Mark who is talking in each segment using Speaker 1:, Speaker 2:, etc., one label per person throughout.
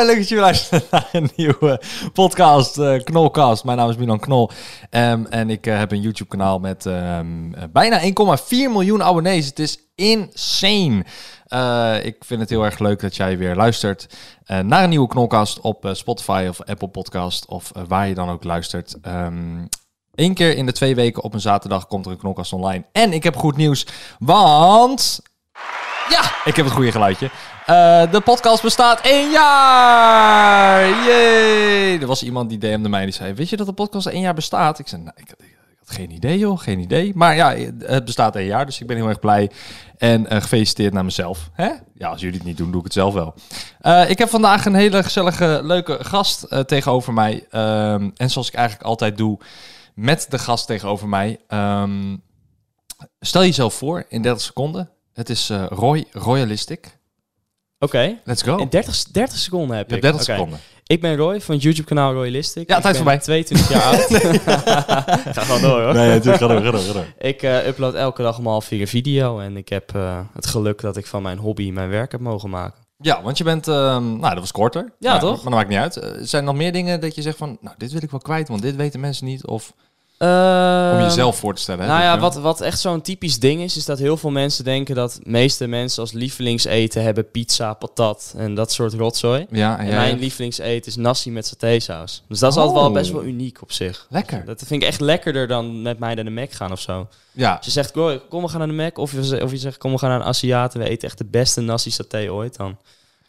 Speaker 1: en leuk dat je weer luistert naar een nieuwe podcast, eh, Knolcast. Mijn naam is Milan Knol Ehm, en ik eh, heb een YouTube kanaal met ehm, eh, bijna 1,4 miljoen abonnees. Het is insane. Eh, ik vind het heel erg leuk dat jij weer luistert eh, naar een nieuwe Knolcast op eh, Spotify of Apple Podcast of eh, waar je dan ook luistert. Ehm Eén keer in de twee weken op een zaterdag komt er een Knolkast online. En ik heb goed nieuws, want... Ja, ik heb het goede geluidje. Eh, de podcast bestaat één jaar! Yay! Er was iemand die DM'de mij en die zei... Weet je dat de podcast één jaar bestaat? Ik zei, nou, ik, ik had geen idee joh, geen idee. Maar ja, het bestaat één jaar, dus ik ben heel erg blij. En eh, gefeliciteerd naar mezelf. Hè? Ja, als jullie het niet doen, doe ik het zelf wel. Eh, ik heb vandaag een hele gezellige, leuke gast eh, tegenover mij. Ehm, en zoals ik eigenlijk altijd doe met de gast tegenover mij. Ehm, stel jezelf voor in 30 seconden. Het is eh, Roy Royalistic.
Speaker 2: Oké.
Speaker 1: Let's go.
Speaker 2: In 30, s- 30 seconden heb
Speaker 1: Je
Speaker 2: ik.
Speaker 1: hebt 30
Speaker 2: Oké.
Speaker 1: seconden.
Speaker 2: Ik ben Roy van het YouTube-kanaal Royalistic.
Speaker 1: Ja, tijd
Speaker 2: Ik ben
Speaker 1: voorbij.
Speaker 2: 22 jaar oud. Ga gewoon door hoor.
Speaker 1: natuurlijk. Ga door, ga door, ga door.
Speaker 2: Ik eh, upload elke dag om half vier een video. En ik heb eh, het geluk dat ik van mijn hobby mijn werk heb mogen maken.
Speaker 1: Ja, want je bent... ehm, nou, dat was korter.
Speaker 2: Ja,
Speaker 1: Maar-
Speaker 2: toch?
Speaker 1: Maar dat maakt niet uit. Eh, zijn er nog meer dingen dat je zegt van... Nou, dit wil ik wel kwijt, want dit weten mensen niet. Of om
Speaker 2: Ehm,
Speaker 1: jezelf voor te stellen. hè,
Speaker 2: Nou
Speaker 1: dit
Speaker 2: ja,
Speaker 1: nummer.
Speaker 2: wat, wat echt zo'n typisch ding is, is dat heel veel mensen denken dat de meeste mensen als lievelingseten hebben pizza, patat en dat soort rotzooi.
Speaker 1: Ja, en
Speaker 2: En
Speaker 1: jij-
Speaker 2: mijn lievelingseten is nasi met satésaus. Dus dat is altijd wel
Speaker 1: Oh.
Speaker 2: best wel uniek op zich.
Speaker 1: Lekker.
Speaker 2: Dat vind ik echt lekkerder dan met mij naar de Mac gaan of zo.
Speaker 1: Ja,
Speaker 2: Als je zegt, "Goh, kom we gaan naar de Mac. Of je, ze- of je zegt, kom we gaan naar een Aziat. En we eten echt de beste nasi saté ooit. Dan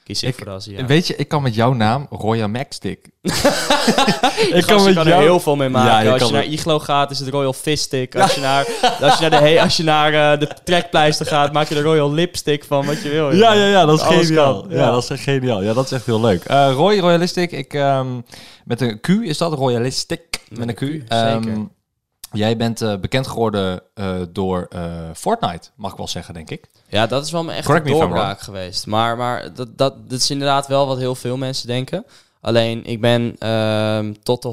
Speaker 2: kies ik,
Speaker 1: Ik-
Speaker 2: voor de Aziat.
Speaker 1: weet je, ik kan met jouw naam Roya Maxstick.
Speaker 2: ik
Speaker 1: kan
Speaker 2: kan,
Speaker 1: met
Speaker 2: er
Speaker 1: jou-
Speaker 2: heel veel mee
Speaker 1: Ja,
Speaker 2: maken.
Speaker 1: je
Speaker 2: als
Speaker 1: kan
Speaker 2: je naar
Speaker 1: het-
Speaker 2: Iglo gaat, is het Royal Fiststick. Als je naar, als je naar, de, he- als je naar eh, de trekpleister gaat, maak je de Royal Lipstick van wat je wil.
Speaker 1: Ja, ja, ja, dat is
Speaker 2: Oh, Alles
Speaker 1: geniaal.
Speaker 2: kan,
Speaker 1: Ja.
Speaker 2: ja.
Speaker 1: dat is echt geniaal. Ja, dat is echt heel leuk. Eh, Roy, Royalistic, ik, ehm, met een Q is dat, Royalistic, met een Q.
Speaker 2: een Q,
Speaker 1: Ehm,
Speaker 2: zeker.
Speaker 1: jij bent eh, bekend geworden eh, door eh, Fortnite, mag ik wel zeggen, denk ik.
Speaker 2: Ja, dat is wel mijn echte
Speaker 1: Correct me if I'm
Speaker 2: doorbraak geweest. Maar, maar dat, dat, dat is inderdaad wel wat heel veel mensen denken. Alleen, ik ben ehm, tot de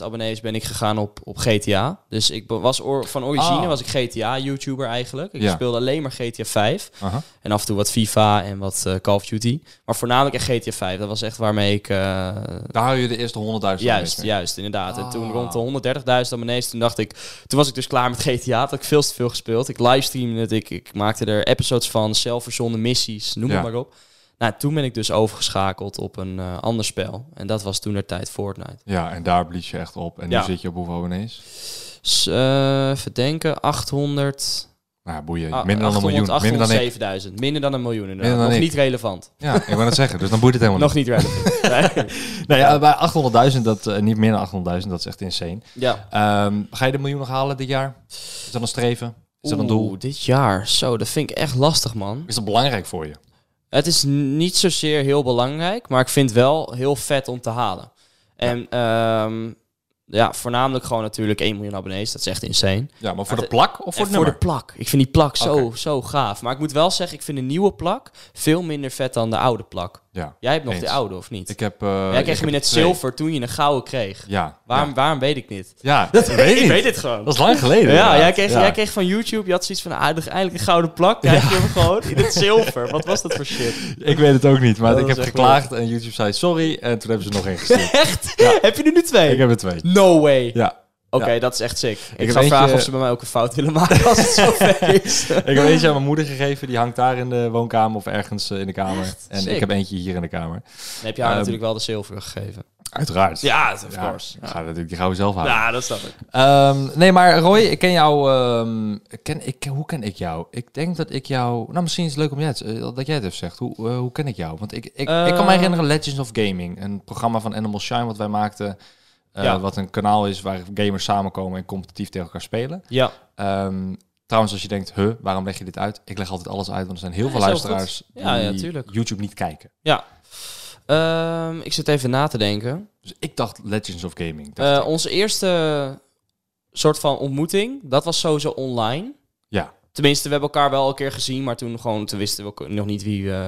Speaker 2: 130.000 abonnees ben ik gegaan op, op GTA. Dus ik be- was oor- van origine
Speaker 1: Ah.
Speaker 2: was ik GTA-YouTuber eigenlijk. Ik
Speaker 1: Ja.
Speaker 2: speelde alleen maar GTA 5.
Speaker 1: Aha.
Speaker 2: En af en toe wat FIFA en wat eh, Call of Duty. Maar voornamelijk echt GTA 5. Dat was echt waarmee ik... eh,
Speaker 1: Daar hou je de eerste 100.000 abonnees
Speaker 2: Juist,
Speaker 1: mee.
Speaker 2: juist, inderdaad. En toen
Speaker 1: Ah.
Speaker 2: rond de 130.000 abonnees, toen dacht ik, toen was ik dus klaar met GTA. Dat had ik veel te veel gespeeld. Ik livestreamde het, ik, ik maakte er episodes van, zelf verzonnen missies, noem
Speaker 1: Ja.
Speaker 2: het maar op. Nou, toen ben ik dus overgeschakeld op een eh, ander spel. En dat was toen de tijd Fortnite.
Speaker 1: Ja, en daar blies je echt op. En
Speaker 2: Ja.
Speaker 1: nu zit je op hoeveel abonnees?
Speaker 2: Dus, eh, even denken, 800...
Speaker 1: Nou, boeien.
Speaker 2: ah,
Speaker 1: Minder dan een
Speaker 2: 800,
Speaker 1: miljoen. Minder dan ik.
Speaker 2: 807.000. Minder dan een miljoen inderdaad.
Speaker 1: Minder dan ik.
Speaker 2: Nog niet relevant.
Speaker 1: Ja, ik wou het zeggen. Dus dan boeit het helemaal
Speaker 2: Nog niet relevant. Nee.
Speaker 1: niet. Nou ja, bij 800.000, dat, eh, niet meer dan 800.000, dat is echt insane.
Speaker 2: Ja.
Speaker 1: Ehm, ga je de miljoen nog halen dit jaar? Is dat een streven? Is dat een doel?
Speaker 2: Oeh, dit jaar. Zo, dat vind ik echt lastig, man.
Speaker 1: Is dat belangrijk voor je?
Speaker 2: Het is n- niet zozeer heel belangrijk, maar ik vind het wel heel vet om te halen. En ja, ja voornamelijk gewoon natuurlijk 1 miljoen abonnees. Dat is echt insane.
Speaker 1: Ja, maar voor
Speaker 2: Maar
Speaker 1: de plak of voor
Speaker 2: Voor,
Speaker 1: het
Speaker 2: voor de
Speaker 1: nummer?
Speaker 2: plak. Ik vind die plak zo,
Speaker 1: Oké.
Speaker 2: zo gaaf. Maar ik moet wel zeggen, ik vind de nieuwe plak veel minder vet dan de oude plak.
Speaker 1: Ja.
Speaker 2: Jij hebt nog
Speaker 1: Eens.
Speaker 2: de oude, of niet?
Speaker 1: Ik heb... eh
Speaker 2: Jij
Speaker 1: ik
Speaker 2: kreeg
Speaker 1: heb
Speaker 2: me net
Speaker 1: twee.
Speaker 2: zilver toen je een gouden kreeg.
Speaker 1: Ja.
Speaker 2: Waarom,
Speaker 1: Ja,
Speaker 2: waarom weet ik niet?
Speaker 1: ja dat weet ik
Speaker 2: ik
Speaker 1: niet.
Speaker 2: weet het gewoon.
Speaker 1: Dat is lang geleden.
Speaker 2: Ja,
Speaker 1: inderdaad.
Speaker 2: jij kreeg,
Speaker 1: Ja.
Speaker 2: jij kreeg van YouTube, je had zoiets van, ah, eindelijk een gouden plak. Krijg je hem gewoon in het zilver. Wat was dat voor shit?
Speaker 1: Ik weet het ook niet, maar
Speaker 2: Dat
Speaker 1: ik
Speaker 2: was
Speaker 1: heb
Speaker 2: echt
Speaker 1: geklaagd en YouTube zei sorry en toen hebben ze er nog één gestuurd.
Speaker 2: Echt? Heb je er nu twee?
Speaker 1: ik heb er twee.
Speaker 2: No way.
Speaker 1: Ja.
Speaker 2: Oké,
Speaker 1: Ja.
Speaker 2: dat is echt sick. Ik,
Speaker 1: heb
Speaker 2: ga
Speaker 1: eentje-
Speaker 2: vragen of ze bij mij ook een fout willen maken als het zo ver is.
Speaker 1: Ik heb eentje aan mijn moeder gegeven, die hangt daar in de woonkamer of ergens eh, in de kamer. en ik
Speaker 2: Sick.
Speaker 1: heb eentje hier in de kamer.
Speaker 2: heb je haar
Speaker 1: Ehm,
Speaker 2: natuurlijk wel de zilveren gegeven.
Speaker 1: Uiteraard.
Speaker 2: Ja, of
Speaker 1: Ja, Ik ga natuurlijk die gouden zelf halen.
Speaker 2: Ja, dat snap ik.
Speaker 1: Ehm, nee, maar Roy, ik ken jou. ehm, ik ken, ik, hoe ken ik jou? Ik denk dat ik jou. Nou, misschien is het leuk om jij het, eh, dat jij het even zegt. Hoe, eh, hoe ken ik jou? Want ik, ik, ik kan me
Speaker 2: Eh.
Speaker 1: herinneren Legends of Gaming, een programma van Animal Shine wat wij maakten. eh,
Speaker 2: Ja.
Speaker 1: Wat een kanaal is waar gamers samenkomen en competitief tegen elkaar spelen.
Speaker 2: Ja,
Speaker 1: Ehm, trouwens, als je denkt, huh, waarom leg je dit uit? Ik leg altijd alles uit, want er zijn heel
Speaker 2: Ja,
Speaker 1: veel
Speaker 2: is heel goed.
Speaker 1: luisteraars
Speaker 2: Ja, ja,
Speaker 1: die
Speaker 2: tuurlijk.
Speaker 1: YouTube niet kijken.
Speaker 2: ja. Ehm, ik zit even na te denken.
Speaker 1: Dus ik dacht Legends of Gaming. dacht
Speaker 2: Eh,
Speaker 1: ik.
Speaker 2: onze eerste soort van ontmoeting, dat was sowieso online.
Speaker 1: Ja.
Speaker 2: Tenminste, we hebben elkaar wel een keer gezien, maar toen, gewoon, toen wisten we ook nog niet wie, eh,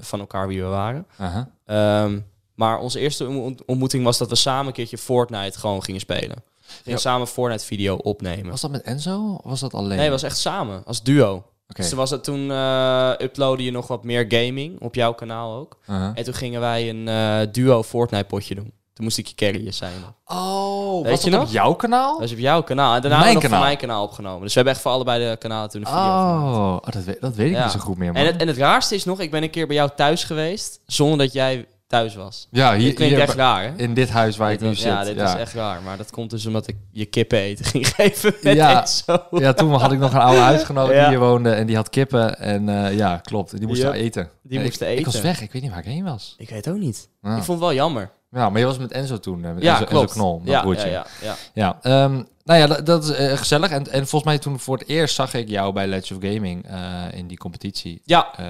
Speaker 2: van elkaar wie we waren.
Speaker 1: Aha.
Speaker 2: Ehm, maar onze eerste ont- ontmoeting was dat we samen een keertje Fortnite gewoon gingen spelen. We gingen
Speaker 1: Ja.
Speaker 2: samen Fortnite video opnemen.
Speaker 1: Was dat met Enzo? Of was dat alleen?
Speaker 2: Nee, het was echt samen, als duo.
Speaker 1: Oké.
Speaker 2: Dus toen, was het, toen eh uploadde je nog wat meer gaming op jouw kanaal ook.
Speaker 1: Uh-huh.
Speaker 2: En toen gingen wij een eh, duo Fortnite potje doen. Toen moest ik je carrier zijn.
Speaker 1: Oh,
Speaker 2: Weet
Speaker 1: was
Speaker 2: je
Speaker 1: dat op
Speaker 2: nog?
Speaker 1: jouw kanaal?
Speaker 2: Dat is op jouw kanaal. En daarna
Speaker 1: Mijn
Speaker 2: hebben we nog
Speaker 1: kanaal.
Speaker 2: van mijn kanaal opgenomen. Dus we hebben echt voor allebei de kanalen toen een video gemaakt.
Speaker 1: Oh, oh, dat, weet, dat weet ik
Speaker 2: Ja.
Speaker 1: niet zo goed meer. Man.
Speaker 2: En het, en het raarste is nog, ik ben een keer bij jou thuis geweest zonder dat jij thuis was.
Speaker 1: ja,
Speaker 2: Dit
Speaker 1: hier,
Speaker 2: klinkt
Speaker 1: hier
Speaker 2: echt raar, hè?
Speaker 1: in dit huis waar ik
Speaker 2: Dit
Speaker 1: nu
Speaker 2: was-
Speaker 1: zit.
Speaker 2: ja, dit is echt raar. Maar dat komt dus omdat ik je kippen eten ging geven met
Speaker 1: Ja.
Speaker 2: Enzo.
Speaker 1: Ja, toen had ik nog een oude huisgenoot die
Speaker 2: Ja.
Speaker 1: hier woonde en die had kippen. En eh, ja, klopt. Die moesten
Speaker 2: Yep.
Speaker 1: eten.
Speaker 2: Die
Speaker 1: En
Speaker 2: moesten
Speaker 1: ik, Ik was
Speaker 2: eten.
Speaker 1: weg, ik weet niet waar ik heen was.
Speaker 2: Ik weet ook niet.
Speaker 1: Ja,
Speaker 2: Ik vond het wel jammer.
Speaker 1: Ja, maar je was met Enzo toen. eh, Met
Speaker 2: Ja,
Speaker 1: Enzo,
Speaker 2: klopt.
Speaker 1: Enzo Knol, mijn
Speaker 2: ja,
Speaker 1: broertje.
Speaker 2: ja, ja, ja.
Speaker 1: Ja, ehm, nou ja, dat, dat is eh, gezellig. En, en volgens mij toen voor het eerst zag ik jou bij Legends of Gaming eh, in die competitie.
Speaker 2: Ja,
Speaker 1: Eh,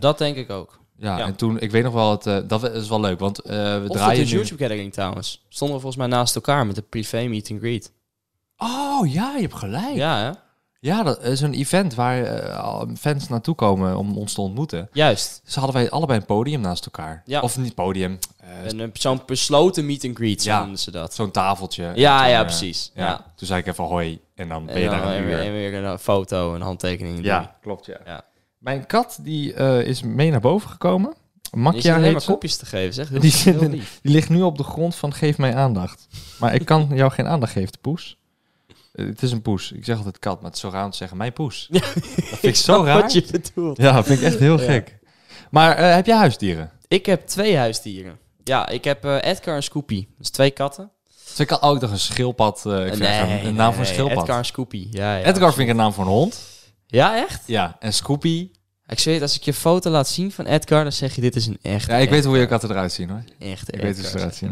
Speaker 2: dat denk ik ook.
Speaker 1: ja,
Speaker 2: ja.
Speaker 1: en toen, ik weet nog wel, het, eh, dat is wel leuk, want eh, we
Speaker 2: Of op
Speaker 1: draaien
Speaker 2: de
Speaker 1: nu...
Speaker 2: YouTube gathering trouwens. Stonden we volgens mij naast elkaar met een privé meet and greet.
Speaker 1: Oh ja, je hebt gelijk. Ja,
Speaker 2: Ja, hè?
Speaker 1: dat is een event waar eh, fans naartoe komen om ons te ontmoeten.
Speaker 2: Juist.
Speaker 1: Dus hadden wij allebei een podium naast elkaar.
Speaker 2: Ja.
Speaker 1: Of niet podium, eh,
Speaker 2: En een- zo'n besloten meet and greet, zo
Speaker 1: Ja.
Speaker 2: noemden ze dat.
Speaker 1: zo'n tafeltje. En
Speaker 2: Ja,
Speaker 1: toen,
Speaker 2: ja,
Speaker 1: eh,
Speaker 2: precies.
Speaker 1: Ja.
Speaker 2: Ja.
Speaker 1: Toen zei ik even hoi en dan ben
Speaker 2: En
Speaker 1: je
Speaker 2: dan
Speaker 1: daar een
Speaker 2: weer-
Speaker 1: uur.
Speaker 2: en weer een eh, foto, een handtekening.
Speaker 1: Ja, klopt ja.
Speaker 2: Ja.
Speaker 1: Mijn kat die eh, is mee naar boven gekomen.
Speaker 2: Je zit
Speaker 1: Makja
Speaker 2: alleen
Speaker 1: heet
Speaker 2: maar
Speaker 1: ze.
Speaker 2: kopjes te geven, zeg. Heel,
Speaker 1: Die zit
Speaker 2: heel
Speaker 1: in-
Speaker 2: lief.
Speaker 1: Die ligt nu op de grond van geef mij aandacht. Maar ik kan jou geen aandacht geven, de poes. Eh, het is een poes. Ik zeg altijd kat, maar het is zo raar om te zeggen mijn poes.
Speaker 2: Ja,
Speaker 1: Dat vind ik zo raar.
Speaker 2: Wat je bedoelt.
Speaker 1: Ja, dat vind ik echt heel gek. Maar eh, heb jij huisdieren?
Speaker 2: Ik heb twee huisdieren. Ja, ik heb eh, Edgar en Scoopy. Dus twee katten.
Speaker 1: Dus ik kan ook nog een schildpad. eh, ik vind echt een, een naam voor een
Speaker 2: nee,
Speaker 1: schildpad.
Speaker 2: Edgar
Speaker 1: Edgar,
Speaker 2: en Scoopy. Ja, ja.
Speaker 1: vind ik een naam voor een hond.
Speaker 2: Ja, echt?
Speaker 1: Ja, en Scoopy.
Speaker 2: Ik zweer het, als ik je foto laat zien van Edgar, dan zeg je dit is een echt.
Speaker 1: Ja, ik weet hoe je katten eruit zien hoor.
Speaker 2: Echt,
Speaker 1: Ik weet hoe ze eruit zien.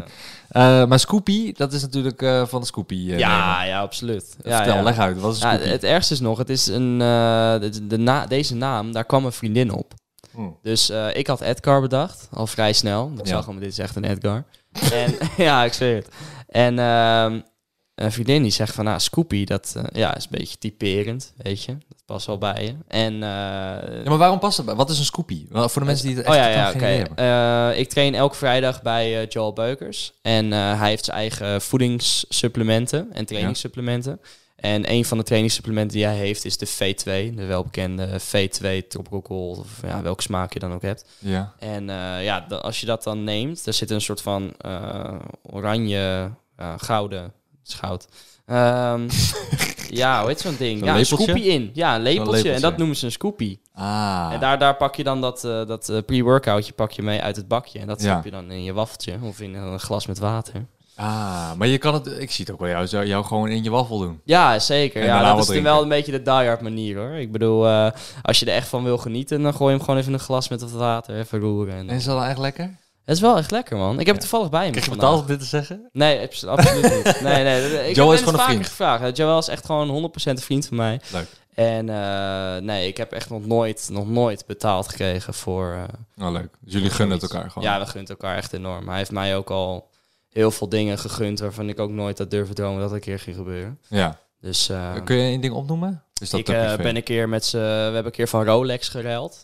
Speaker 2: Ja,
Speaker 1: Eh, maar Scoopy, dat is natuurlijk eh, van de Scoopy. eh, nemen.
Speaker 2: ja, ja, absoluut. Ja,
Speaker 1: Vertel,
Speaker 2: ja.
Speaker 1: leg uit. Wat is
Speaker 2: Ja,
Speaker 1: Scoopy?
Speaker 2: het ergste is nog, het is een, eh, de, de na, deze naam, daar kwam een vriendin op.
Speaker 1: Hm.
Speaker 2: Dus eh, ik had Edgar bedacht, al vrij snel. Ik
Speaker 1: Ja.
Speaker 2: zag hem, dit is echt een Edgar. en, ja, ik zweer het. En ehm, een vriendin die zegt van, nou, Scoopy, dat eh, ja, is een beetje typerend, weet je. Dat past wel bij je. En, eh,
Speaker 1: Ja, maar waarom past dat bij? Wat is een Scoopy? Wel, Voor de mensen die het echt
Speaker 2: oh ja,
Speaker 1: totaal
Speaker 2: ja
Speaker 1: geen
Speaker 2: oké.
Speaker 1: idee hebben.
Speaker 2: Eh, ik train elke vrijdag bij eh, Joel Beukers. En eh, hij heeft zijn eigen voedingssupplementen en trainingssupplementen. En een van de trainingssupplementen die hij heeft is de V2. De welbekende V2 tropical, of ja, welke smaak je dan ook hebt.
Speaker 1: Ja.
Speaker 2: En eh, ja, da- als je dat dan neemt, daar zit een soort van eh, oranje, eh, gouden, het is goud. Ehm, ja, hoe heet zo'n ding?
Speaker 1: Zo'n
Speaker 2: ja, een
Speaker 1: lepeltje?
Speaker 2: scoopie in. Ja, een lepeltje. En
Speaker 1: lepeltje.
Speaker 2: dat noemen ze een scoopie.
Speaker 1: Ah.
Speaker 2: En daar, daar pak je dan dat, eh, dat eh, pre-workoutje pak je mee uit het bakje. En dat
Speaker 1: Ja.
Speaker 2: stop je dan in je waffeltje of in eh, een glas met water.
Speaker 1: ah, maar je kan het... Ik zie het ook wel jou, zo- jou gewoon in je waffel doen.
Speaker 2: Ja, zeker.
Speaker 1: En
Speaker 2: Ja,
Speaker 1: daarna
Speaker 2: dat
Speaker 1: wat
Speaker 2: is dan
Speaker 1: drinken.
Speaker 2: wel een beetje de diehard manier hoor. Ik bedoel, eh, als je er echt van wil genieten, dan gooi je hem gewoon even in een glas met wat water. Even roeren. En,
Speaker 1: En is dat dan echt lekker?
Speaker 2: Het is wel echt lekker man. Ik heb het toevallig bij me
Speaker 1: Krijg je
Speaker 2: vandaag.
Speaker 1: betaald om dit te zeggen?
Speaker 2: Nee, abs- absoluut niet. Nee, nee. dat- Ik
Speaker 1: Joel is gewoon
Speaker 2: heb
Speaker 1: een
Speaker 2: mensen vaker
Speaker 1: vriend.
Speaker 2: gevraagd. Eh, Joel is echt gewoon 100% een vriend van mij.
Speaker 1: Leuk.
Speaker 2: En eh, nee, ik heb echt nog nooit, nog nooit betaald gekregen voor. eh,
Speaker 1: Nou, leuk. Dus jullie gunnen het
Speaker 2: zoiets.
Speaker 1: elkaar gewoon.
Speaker 2: Ja, we gunt elkaar echt enorm. Hij heeft mij ook al heel veel dingen gegund waarvan ik ook nooit had durven dromen dat een keer ging gebeuren.
Speaker 1: Ja.
Speaker 2: Dus eh,
Speaker 1: Kun je één ding opnoemen? Is dat
Speaker 2: ik
Speaker 1: te
Speaker 2: eh,
Speaker 1: privé?
Speaker 2: ben een keer met ze. We hebben een keer van Rolex geruild.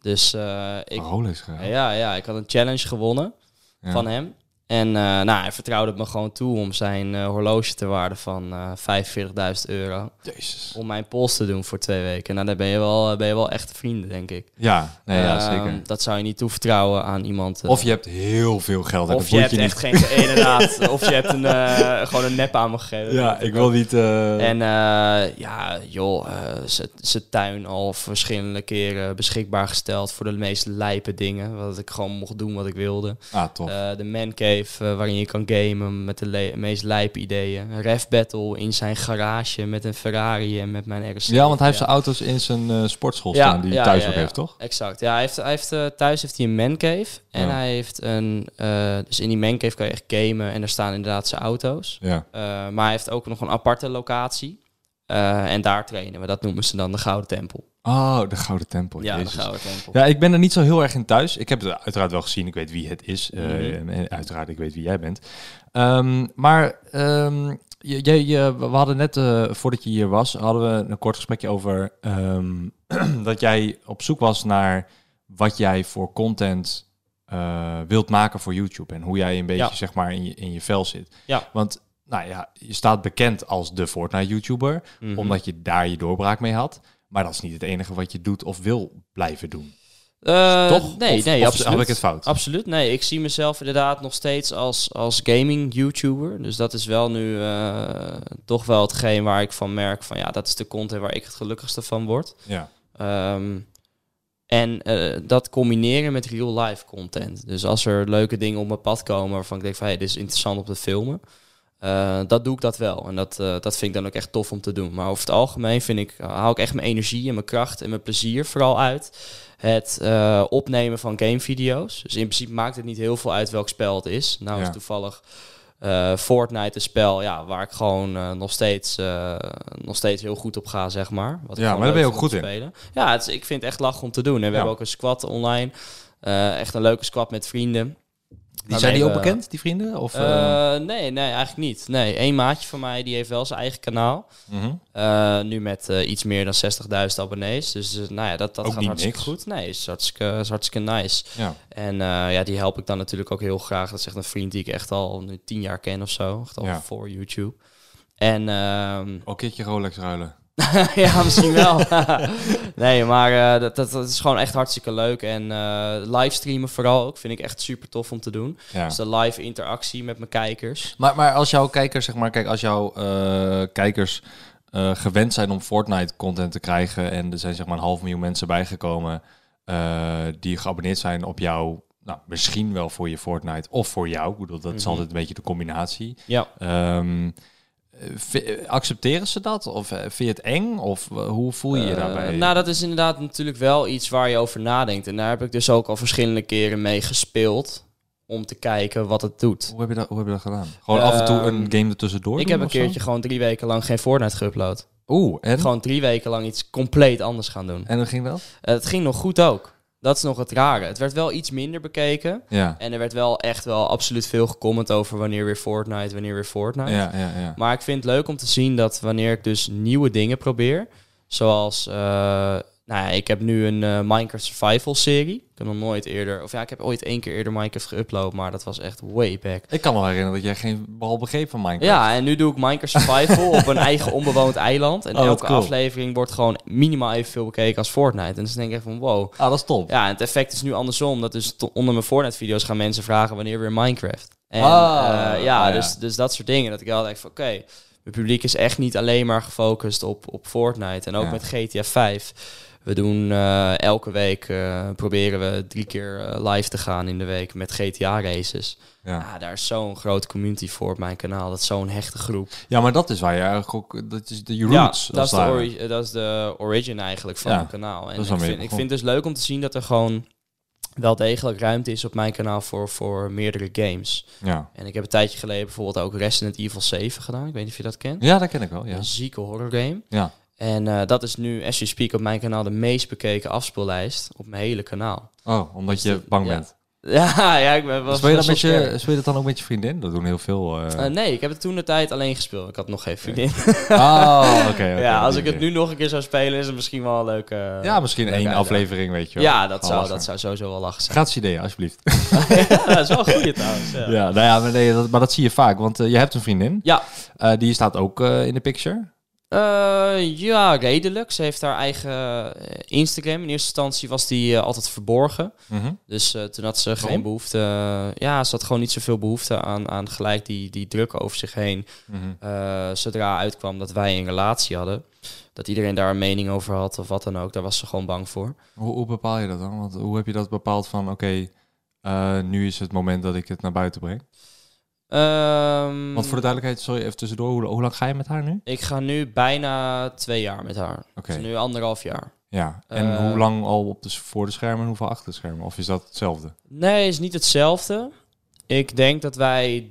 Speaker 2: Dus eh, ik.
Speaker 1: Oh, Rolex gehaald.
Speaker 2: Ja, ja, ik had een challenge gewonnen
Speaker 1: Ja.
Speaker 2: van hem. En eh, nou, hij vertrouwde het me gewoon toe om zijn eh, horloge ter waarde van eh 45.000 euro.
Speaker 1: Jezus.
Speaker 2: Om mijn pols te doen voor twee weken. Nou, daar ben je wel, ben je wel echte vrienden, denk ik.
Speaker 1: Ja, nee, ja,
Speaker 2: Ehm,
Speaker 1: zeker.
Speaker 2: Dat zou je niet toevertrouwen aan iemand. eh,
Speaker 1: Of je hebt heel veel geld en
Speaker 2: of
Speaker 1: dat
Speaker 2: je
Speaker 1: moet
Speaker 2: hebt
Speaker 1: je
Speaker 2: echt
Speaker 1: niet.
Speaker 2: geen... eh, Inderdaad. of je hebt een, eh, gewoon een nep aan me gegeven.
Speaker 1: Ja, ik wil niet... eh,
Speaker 2: En eh, ja, joh, eh, ze zijn tuin al verschillende keren beschikbaar gesteld voor de meest lijpe dingen. Wat ik gewoon mocht doen wat ik wilde.
Speaker 1: Ah, tof.
Speaker 2: Eh, de man cave eh, waarin je kan gamen met de le- meest lijpe ideeën. Een ref battle in zijn garage met een Ferrari en met mijn RC.
Speaker 1: ja, want hij heeft zijn auto's in zijn eh, sportschool staan die hij thuis ook heeft, toch?
Speaker 2: Exact. Ja, hij heeft, hij heeft, eh, thuis heeft hij een man cave. En
Speaker 1: Ja.
Speaker 2: hij heeft een... eh, dus in die man cave kan je echt gamen en daar staan inderdaad zijn auto's.
Speaker 1: Ja.
Speaker 2: Eh, maar hij heeft ook nog een aparte locatie. Eh, en daar trainen we. Dat noemen ze dan de Gouden Tempel.
Speaker 1: Oh, de Gouden Tempel.
Speaker 2: ja,
Speaker 1: Jezus.
Speaker 2: de Gouden Tempel.
Speaker 1: Ja, ik ben er niet zo heel erg in thuis. Ik heb het uiteraard wel gezien. Ik weet wie het is. eh,
Speaker 2: Mhm.
Speaker 1: En uiteraard, ik weet wie jij bent. Ehm, maar ehm, je, je, je- we hadden net, eh, voordat je hier was, hadden we een kort gesprekje over ehm, dat jij op zoek was naar wat jij voor content eh, wilt maken voor YouTube. En hoe jij een beetje,
Speaker 2: Ja.
Speaker 1: zeg maar, in je, in je vel zit.
Speaker 2: Ja.
Speaker 1: Want, nou ja, je staat bekend als de Fortnite-YouTuber
Speaker 2: Mhm.
Speaker 1: omdat je daar je doorbraak mee had. Maar dat is niet het enige wat je doet of wil blijven doen.
Speaker 2: Eh,
Speaker 1: Toch?
Speaker 2: Nee,
Speaker 1: Of-
Speaker 2: nee,
Speaker 1: of
Speaker 2: absoluut.
Speaker 1: heb ik het fout?
Speaker 2: Absoluut, nee. Ik zie mezelf inderdaad nog steeds als, als gaming-YouTuber. Dus dat is wel nu eh, toch wel hetgeen waar ik van merk van... ja, dat is de content waar ik het gelukkigste van word.
Speaker 1: Ja.
Speaker 2: Ehm, en eh, dat combineren met real-life content. Dus als er leuke dingen op mijn pad komen waarvan ik denk van... hé, dit is interessant om te filmen. eh, dat doe ik dat wel. En dat, eh, dat vind ik dan ook echt tof om te doen. Maar over het algemeen vind ik, haal ik echt mijn energie en mijn kracht en mijn plezier vooral uit. Het eh, opnemen van gamevideo's. Dus in principe maakt het niet heel veel uit welk spel het is. Nou
Speaker 1: Ja.
Speaker 2: is toevallig eh, Fortnite een spel ja, waar ik gewoon eh, nog, steeds, eh, nog steeds heel goed op ga, zeg maar. Wat
Speaker 1: Ja,
Speaker 2: ik gewoon
Speaker 1: maar daar ben je
Speaker 2: leuk
Speaker 1: ook
Speaker 2: vind om
Speaker 1: goed
Speaker 2: te
Speaker 1: in.
Speaker 2: spelen. Ja, het is- ik vind het echt lach om te doen. En we
Speaker 1: Ja.
Speaker 2: hebben ook een squad online. Eh, echt een leuke squad met vrienden.
Speaker 1: Die zijn die ook
Speaker 2: Waarmee we-
Speaker 1: bekend, die vrienden? Of, eh,
Speaker 2: Eh, nee, nee, eigenlijk niet. Nee, één maatje van mij die heeft wel zijn eigen kanaal.
Speaker 1: mhm.
Speaker 2: Eh, nu met eh, iets meer dan 60.000 abonnees. Dus eh, nou ja, dat, dat
Speaker 1: Ook
Speaker 2: gaat
Speaker 1: niet
Speaker 2: hartstikke
Speaker 1: niks.
Speaker 2: goed. Nee, is hartstikke, is hartstikke nice.
Speaker 1: Ja.
Speaker 2: En eh, ja, die help ik dan natuurlijk ook heel graag. Dat is echt een vriend die ik echt al nu tien jaar ken of zo. Echt al
Speaker 1: Ja.
Speaker 2: voor YouTube. En ehm,
Speaker 1: Ook een keertje Rolex ruilen.
Speaker 2: ja, misschien wel. nee, maar eh, dat, dat, dat is gewoon echt hartstikke leuk. En eh livestreamen vooral ook vind ik echt super tof om te doen.
Speaker 1: Ja.
Speaker 2: Dus de live interactie met mijn kijkers.
Speaker 1: Maar, maar als jouw kijkers, zeg maar, kijk, als jouw eh, kijkers eh, gewend zijn om Fortnite content te krijgen en er zijn zeg maar een half miljoen mensen bijgekomen eh, die geabonneerd zijn op jou, nou, misschien wel voor je Fortnite of voor jou. Ik bedoel, dat is
Speaker 2: Mhm.
Speaker 1: altijd een beetje de combinatie.
Speaker 2: Ja.
Speaker 1: Ehm, eh, vi- eh, accepteren ze dat? Of eh, vind je het eng? Of eh, hoe voel je je
Speaker 2: Eh,
Speaker 1: daarbij?
Speaker 2: nou, dat is inderdaad natuurlijk wel iets waar je over nadenkt. En daar heb ik dus ook al verschillende keren mee gespeeld. Om te kijken wat het doet.
Speaker 1: hoe, heb je dat, hoe heb je dat gedaan? Gewoon af en toe een
Speaker 2: Ehm,
Speaker 1: game ertussendoor
Speaker 2: Ik
Speaker 1: doen
Speaker 2: heb een
Speaker 1: of zo? Hm?
Speaker 2: keertje gewoon drie weken lang geen Fortnite geüpload.
Speaker 1: Oeh, en?
Speaker 2: Gewoon drie weken lang iets compleet anders gaan doen.
Speaker 1: En hoe ging dat?
Speaker 2: Eh, het ging nog goed ook. Dat is nog het rare. Het werd wel iets minder bekeken.
Speaker 1: Ja,
Speaker 2: En er werd wel echt wel absoluut veel gecomment over wanneer weer Fortnite, wanneer weer Fortnite.
Speaker 1: ja, ja. ja.
Speaker 2: Maar ik vind het leuk om te zien dat wanneer ik dus nieuwe dingen probeer, zoals, eh, nou ja, ik heb nu een eh, Minecraft Survival serie. Ik heb nog nooit eerder, of ja, ik heb ooit één keer eerder Minecraft geüpload, maar dat was echt way back.
Speaker 1: Ik kan me wel herinneren dat jij geen bal begreep van Minecraft.
Speaker 2: Ja, en nu doe ik Minecraft Survival op een eigen onbewoond eiland. En
Speaker 1: Oh, wat
Speaker 2: elke
Speaker 1: cool.
Speaker 2: aflevering wordt gewoon minimaal evenveel bekeken als Fortnite. En dus denk ik echt van, wow.
Speaker 1: Ah, dat is top.
Speaker 2: Ja, en het effect is nu andersom. Dat dus to- onder mijn Fortnite-video's gaan mensen vragen wanneer weer Minecraft. En,
Speaker 1: Ah,
Speaker 2: eh, ja,
Speaker 1: ah, ja.
Speaker 2: Dus, dus dat soort dingen. Dat ik altijd denk van, oké, het publiek is echt niet alleen maar gefocust op, op Fortnite. En ook
Speaker 1: Ja.
Speaker 2: met GTA 5. We doen eh, elke week, eh, proberen we drie keer eh, live te gaan in de week met GTA-races.
Speaker 1: Ja.
Speaker 2: Ah, daar is zo'n grote community voor op mijn kanaal. Dat is zo'n hechte groep.
Speaker 1: ja, maar dat is waar je eigenlijk ook... Dat is de je
Speaker 2: Ja,
Speaker 1: roots.
Speaker 2: dat, is de
Speaker 1: daar.
Speaker 2: ori- eh, dat is de origin eigenlijk van
Speaker 1: Ja,
Speaker 2: mijn kanaal. En
Speaker 1: dat
Speaker 2: ik
Speaker 1: is waarmee je
Speaker 2: vind, ik
Speaker 1: begon.
Speaker 2: vind het dus leuk om te zien dat er gewoon wel degelijk ruimte is op mijn kanaal voor, voor meerdere games.
Speaker 1: ja.
Speaker 2: En ik heb een tijdje geleden bijvoorbeeld ook Resident Evil 7 gedaan. Ik weet niet of je dat kent.
Speaker 1: ja, dat ken ik wel, ja.
Speaker 2: Een zieke horror game.
Speaker 1: Ja.
Speaker 2: En eh, dat is nu, as you speak, op mijn kanaal de meest bekeken afspeellijst op mijn hele kanaal.
Speaker 1: Oh, omdat
Speaker 2: Dus
Speaker 1: je
Speaker 2: dat-
Speaker 1: bang
Speaker 2: ja.
Speaker 1: bent.
Speaker 2: Ja, ja, ik ben wel
Speaker 1: Speel je, dat
Speaker 2: best
Speaker 1: met
Speaker 2: wel
Speaker 1: je,
Speaker 2: scherp.
Speaker 1: speel je dat dan ook met je vriendin? Dat doen heel veel... eh.
Speaker 2: Eh, nee, ik heb het toen de tijd alleen gespeeld. Ik had nog geen vriendin.
Speaker 1: Oh, oké. oké,
Speaker 2: ja, als
Speaker 1: oké,
Speaker 2: ik het
Speaker 1: oké.
Speaker 2: nu nog een keer zou spelen, is het misschien wel een leuke...
Speaker 1: Ja, misschien
Speaker 2: leuke
Speaker 1: één
Speaker 2: uitdaging.
Speaker 1: aflevering, weet je wel.
Speaker 2: Ja, dat
Speaker 1: Gewoon
Speaker 2: zou,
Speaker 1: lachen.
Speaker 2: dat zou sowieso wel lachen zijn.
Speaker 1: Gratis idee, alsjeblieft.
Speaker 2: ja, dat is wel een goeie trouwens. Ja.
Speaker 1: Ja, nou ja, maar, nee, dat, maar dat zie je vaak. Want eh, je hebt een vriendin.
Speaker 2: Ja.
Speaker 1: Eh, die staat ook eh, in de picture.
Speaker 2: Eh, ja, redelijk. Ze heeft haar eigen eh, Instagram. In eerste instantie was die eh, altijd verborgen.
Speaker 1: Mhm.
Speaker 2: Dus eh, toen had ze
Speaker 1: Waarom?
Speaker 2: geen behoefte... eh, ja, ze had gewoon niet zoveel behoefte aan, aan gelijk die, die druk over zich heen.
Speaker 1: Mhm.
Speaker 2: Eh, zodra uitkwam dat wij een relatie hadden... dat iedereen daar een mening over had of wat dan ook... daar was ze gewoon bang voor.
Speaker 1: Hoe, hoe bepaal je dat dan? Want hoe heb je dat bepaald van... Oké, eh, nu is het moment dat ik het naar buiten breng?
Speaker 2: Mm. Ehm,
Speaker 1: Want voor de duidelijkheid, sorry, even tussendoor. Hoe, hoe lang ga je met haar nu?
Speaker 2: Ik ga nu bijna twee jaar met haar.
Speaker 1: Oké,
Speaker 2: Dus nu anderhalf jaar.
Speaker 1: ja. En
Speaker 2: Eh,
Speaker 1: hoe lang al op de, s- voor de schermen en hoeveel achter de schermen? Of is dat hetzelfde?
Speaker 2: Nee, is niet hetzelfde. Ik denk dat wij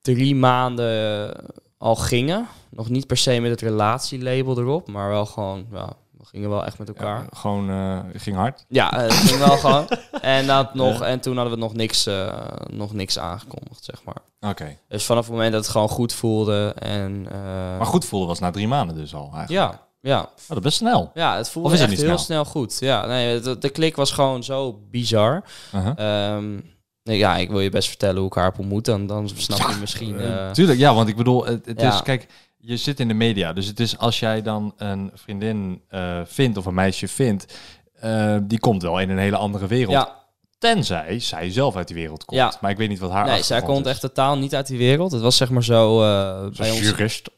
Speaker 2: drie maanden eh, al gingen. Nog niet per se met het relatielabel erop, maar wel gewoon, ja, we gingen wel echt met elkaar.
Speaker 1: Ja, gewoon eh, ging hard.
Speaker 2: Ja, eh, het ging wel gewoon. En, dat nog, en toen hadden we nog niks, eh, nog niks aangekondigd, zeg maar.
Speaker 1: Oké.
Speaker 2: Dus vanaf het moment dat het gewoon goed voelde en... eh,
Speaker 1: Maar goed voelen was na drie maanden dus al eigenlijk.
Speaker 2: Ja, ja.
Speaker 1: Oh, dat is best snel.
Speaker 2: ja, het voelde
Speaker 1: Of is het
Speaker 2: echt
Speaker 1: niet
Speaker 2: heel
Speaker 1: snel?
Speaker 2: snel goed. Ja, nee, de, de klik was gewoon zo bizar.
Speaker 1: Uh-huh.
Speaker 2: Ehm, nee, ja, ik wil je best vertellen hoe ik haar heb ontmoet. Dan, dan snap je misschien... eh,
Speaker 1: Tuurlijk, ja, want ik bedoel, het, het
Speaker 2: Ja.
Speaker 1: is, kijk, je zit in de media. Dus het is als jij dan een vriendin eh, vindt of een meisje vindt, eh, die komt wel in een hele andere wereld.
Speaker 2: Ja,
Speaker 1: Tenzij zij zelf uit die wereld komt.
Speaker 2: Ja.
Speaker 1: Maar ik weet niet wat haar
Speaker 2: nee, zij
Speaker 1: achtergrond
Speaker 2: komt
Speaker 1: is.
Speaker 2: echt totaal niet uit die wereld. Het was zeg maar zo... eh,
Speaker 1: Zo'n
Speaker 2: bij, ons,
Speaker 1: jurist.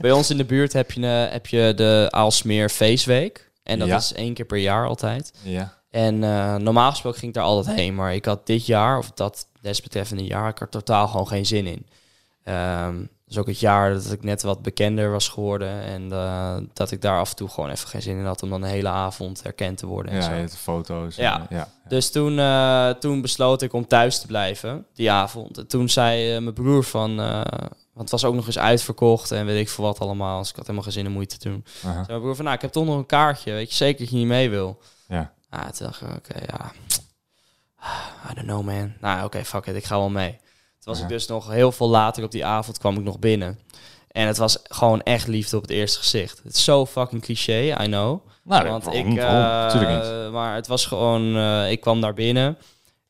Speaker 2: bij ons in de buurt heb je, eh, heb je de Aalsmeer Feestweek. En dat
Speaker 1: Ja.
Speaker 2: is één keer per jaar altijd.
Speaker 1: Ja.
Speaker 2: En eh, normaal gesproken ging ik daar altijd heen. Maar ik had dit jaar, of dat desbetreffende jaar, ik had er totaal gewoon geen zin in. Ehm dus ook het jaar dat ik net wat bekender was geworden. En eh, dat ik daar af en toe gewoon even geen zin in had om dan de hele avond herkend te worden. En
Speaker 1: Ja,
Speaker 2: zo.
Speaker 1: je hebt foto's. en,
Speaker 2: Ja.
Speaker 1: eh, ja.
Speaker 2: Dus toen, eh, toen besloot ik om thuis te blijven, die avond. En Toen zei eh, mijn broer van... eh, want het was ook nog eens uitverkocht en weet ik veel wat allemaal. Dus ik had helemaal geen zin in moeite te doen. Toen
Speaker 1: Aha.
Speaker 2: zei mijn broer van, nou, ik heb toch nog een kaartje. Weet je zeker dat je niet mee wil?
Speaker 1: Ja.
Speaker 2: Ah, toen dacht ik, oké, ja. Ah, I don't know, man. Nou, oké, fuck it, ik ga wel mee. Toen was
Speaker 1: Ja.
Speaker 2: ik dus nog heel veel later op die avond kwam ik nog binnen. En het was gewoon echt liefde op het eerste gezicht. Het is zo fucking cliché, I know.
Speaker 1: Nou,
Speaker 2: Want
Speaker 1: waarom
Speaker 2: ik,
Speaker 1: niet? Waarom? Natuurlijk niet.
Speaker 2: eh, maar het was gewoon, eh, ik kwam daar binnen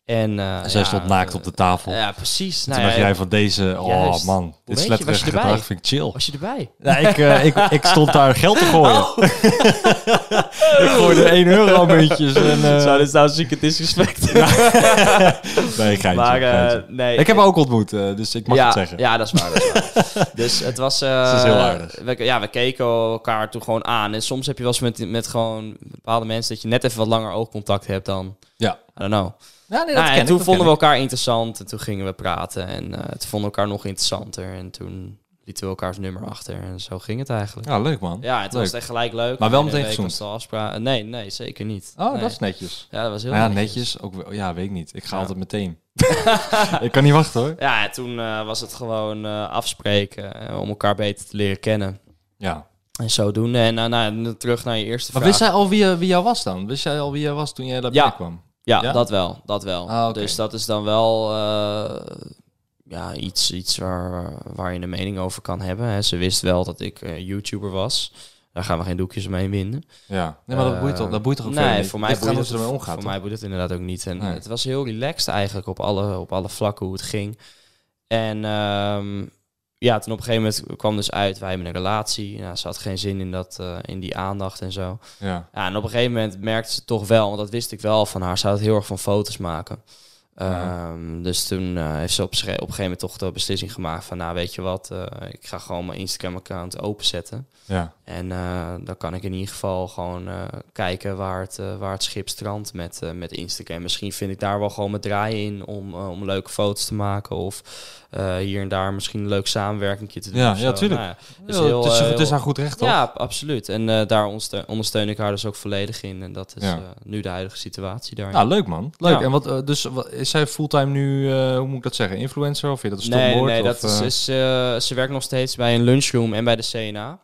Speaker 2: en eh,
Speaker 1: Zij
Speaker 2: ja,
Speaker 1: stond naakt op de tafel.
Speaker 2: Ja, precies.
Speaker 1: Toen
Speaker 2: Nou,
Speaker 1: dacht
Speaker 2: ja,
Speaker 1: jij van deze, oh
Speaker 2: Juist.
Speaker 1: man, dit
Speaker 2: weet je,
Speaker 1: sletterige
Speaker 2: was je erbij?
Speaker 1: gedrag vind ik chill.
Speaker 2: was je erbij? Oh.
Speaker 1: Ja, ik, eh, ik, ik stond daar geld te gooien. ik gooide 1 euro muntjes. En, eh,
Speaker 2: Zou dit nou zieke disrespect?
Speaker 1: nee, geintje,
Speaker 2: maar eh,
Speaker 1: geintje.
Speaker 2: nee.
Speaker 1: Ik heb haar ook ontmoet, eh, dus ik mag
Speaker 2: ja,
Speaker 1: het zeggen.
Speaker 2: Ja, dat is waar. dat is waar. dus het was... eh,
Speaker 1: Dat is heel aardig.
Speaker 2: We, ja, we keken elkaar toen gewoon aan. En soms heb je wel eens met, met gewoon bepaalde mensen... dat je net even wat langer oogcontact hebt dan...
Speaker 1: Ja.
Speaker 2: I don't know.
Speaker 1: Ja, nee, dat
Speaker 2: Nou,
Speaker 1: ken
Speaker 2: en
Speaker 1: ik,
Speaker 2: toen
Speaker 1: dat
Speaker 2: vonden we
Speaker 1: ken ik.
Speaker 2: elkaar interessant. En toen gingen we praten. En eh toen vonden we elkaar nog interessanter. En toen lieten we elkaars nummer achter. En zo ging het eigenlijk.
Speaker 1: Ja, Ah, leuk man.
Speaker 2: Ja, het was
Speaker 1: Leuk.
Speaker 2: het echt gelijk leuk.
Speaker 1: Maar wel
Speaker 2: En
Speaker 1: meteen
Speaker 2: een week
Speaker 1: gezoend.
Speaker 2: was de afspraak- Nee, nee, zeker niet.
Speaker 1: Oh,
Speaker 2: Nee.
Speaker 1: dat is netjes.
Speaker 2: Ja, dat was heel
Speaker 1: Nou ja, netjes. Ook, wel- ja, weet ik niet. Ik ga
Speaker 2: Ja.
Speaker 1: altijd meteen. ik kan niet wachten hoor.
Speaker 2: Ja, en toen eh, was het gewoon eh, afspreken eh, om elkaar beter te leren kennen.
Speaker 1: Ja.
Speaker 2: En zo doen. En nou, nou, terug naar je eerste
Speaker 1: Maar
Speaker 2: vraag.
Speaker 1: wist zij al wie, eh, wie jou was dan? Wist jij al wie jij was toen jij daar
Speaker 2: Ja.
Speaker 1: binnenkwam?
Speaker 2: ja,
Speaker 1: Ja?
Speaker 2: dat wel. Dat wel.
Speaker 1: Ah, oké.
Speaker 2: Dus dat is dan wel eh, ja, iets, iets waar, waar je een mening over kan hebben. Hè. Ze wist wel dat ik eh, YouTuber was. Daar gaan we geen doekjes omheen winden.
Speaker 1: Ja. Nee, maar dat
Speaker 2: Eh,
Speaker 1: boeit toch, dat boeit toch ook
Speaker 2: nee,
Speaker 1: veel niet?
Speaker 2: Voor mij
Speaker 1: Ligt eraan
Speaker 2: boeit
Speaker 1: hoe ze ermee omgaat.
Speaker 2: Voor
Speaker 1: toch?
Speaker 2: mij boeit het inderdaad ook niet. En
Speaker 1: Nee.
Speaker 2: het was heel relaxed eigenlijk op alle, op alle vlakken hoe het ging. En ehm, ja, toen op een gegeven moment kwam dus uit, wij hebben een relatie. Nou, ze had geen zin in, dat, eh, in die aandacht en zo.
Speaker 1: Ja.
Speaker 2: Ja, en op een gegeven moment merkte ze toch wel, want dat wist ik wel van haar, ze houdt heel erg van foto's maken.
Speaker 1: Ja.
Speaker 2: Ehm, Dus toen eh, heeft ze op, sche- op een gegeven moment toch de beslissing gemaakt van, nou weet je wat, eh, ik ga gewoon mijn Instagram-account openzetten.
Speaker 1: Ja.
Speaker 2: En eh, dan kan ik in ieder geval gewoon eh, kijken waar het, eh, waar het schip strandt met, eh, met Instagram. Misschien vind ik daar wel gewoon mijn draai in om, eh, om leuke foto's te maken. Of eh, hier en daar misschien een leuk samenwerkingje te doen.
Speaker 1: Ja,
Speaker 2: of
Speaker 1: ja,
Speaker 2: zo.
Speaker 1: tuurlijk.
Speaker 2: Nou ja,
Speaker 1: Ja,
Speaker 2: dus heel,
Speaker 1: het, is,
Speaker 2: eh,
Speaker 1: het is
Speaker 2: heel-
Speaker 1: haar goed recht toch?
Speaker 2: ja, ab- absoluut. En eh, daar ondersteun, ondersteun ik haar dus ook volledig in. En dat is
Speaker 1: Ja.
Speaker 2: eh, nu de huidige situatie daarin.
Speaker 1: Nou, leuk man. Leuk.
Speaker 2: Ja.
Speaker 1: En wat, eh, dus wat, is zij fulltime nu, eh, hoe moet ik dat zeggen, influencer? Of vind je dat een
Speaker 2: nee,
Speaker 1: stopwoord?
Speaker 2: nee,
Speaker 1: of,
Speaker 2: dat is,
Speaker 1: eh,
Speaker 2: is, eh, ze werkt nog steeds bij een lunchroom en bij de CNA.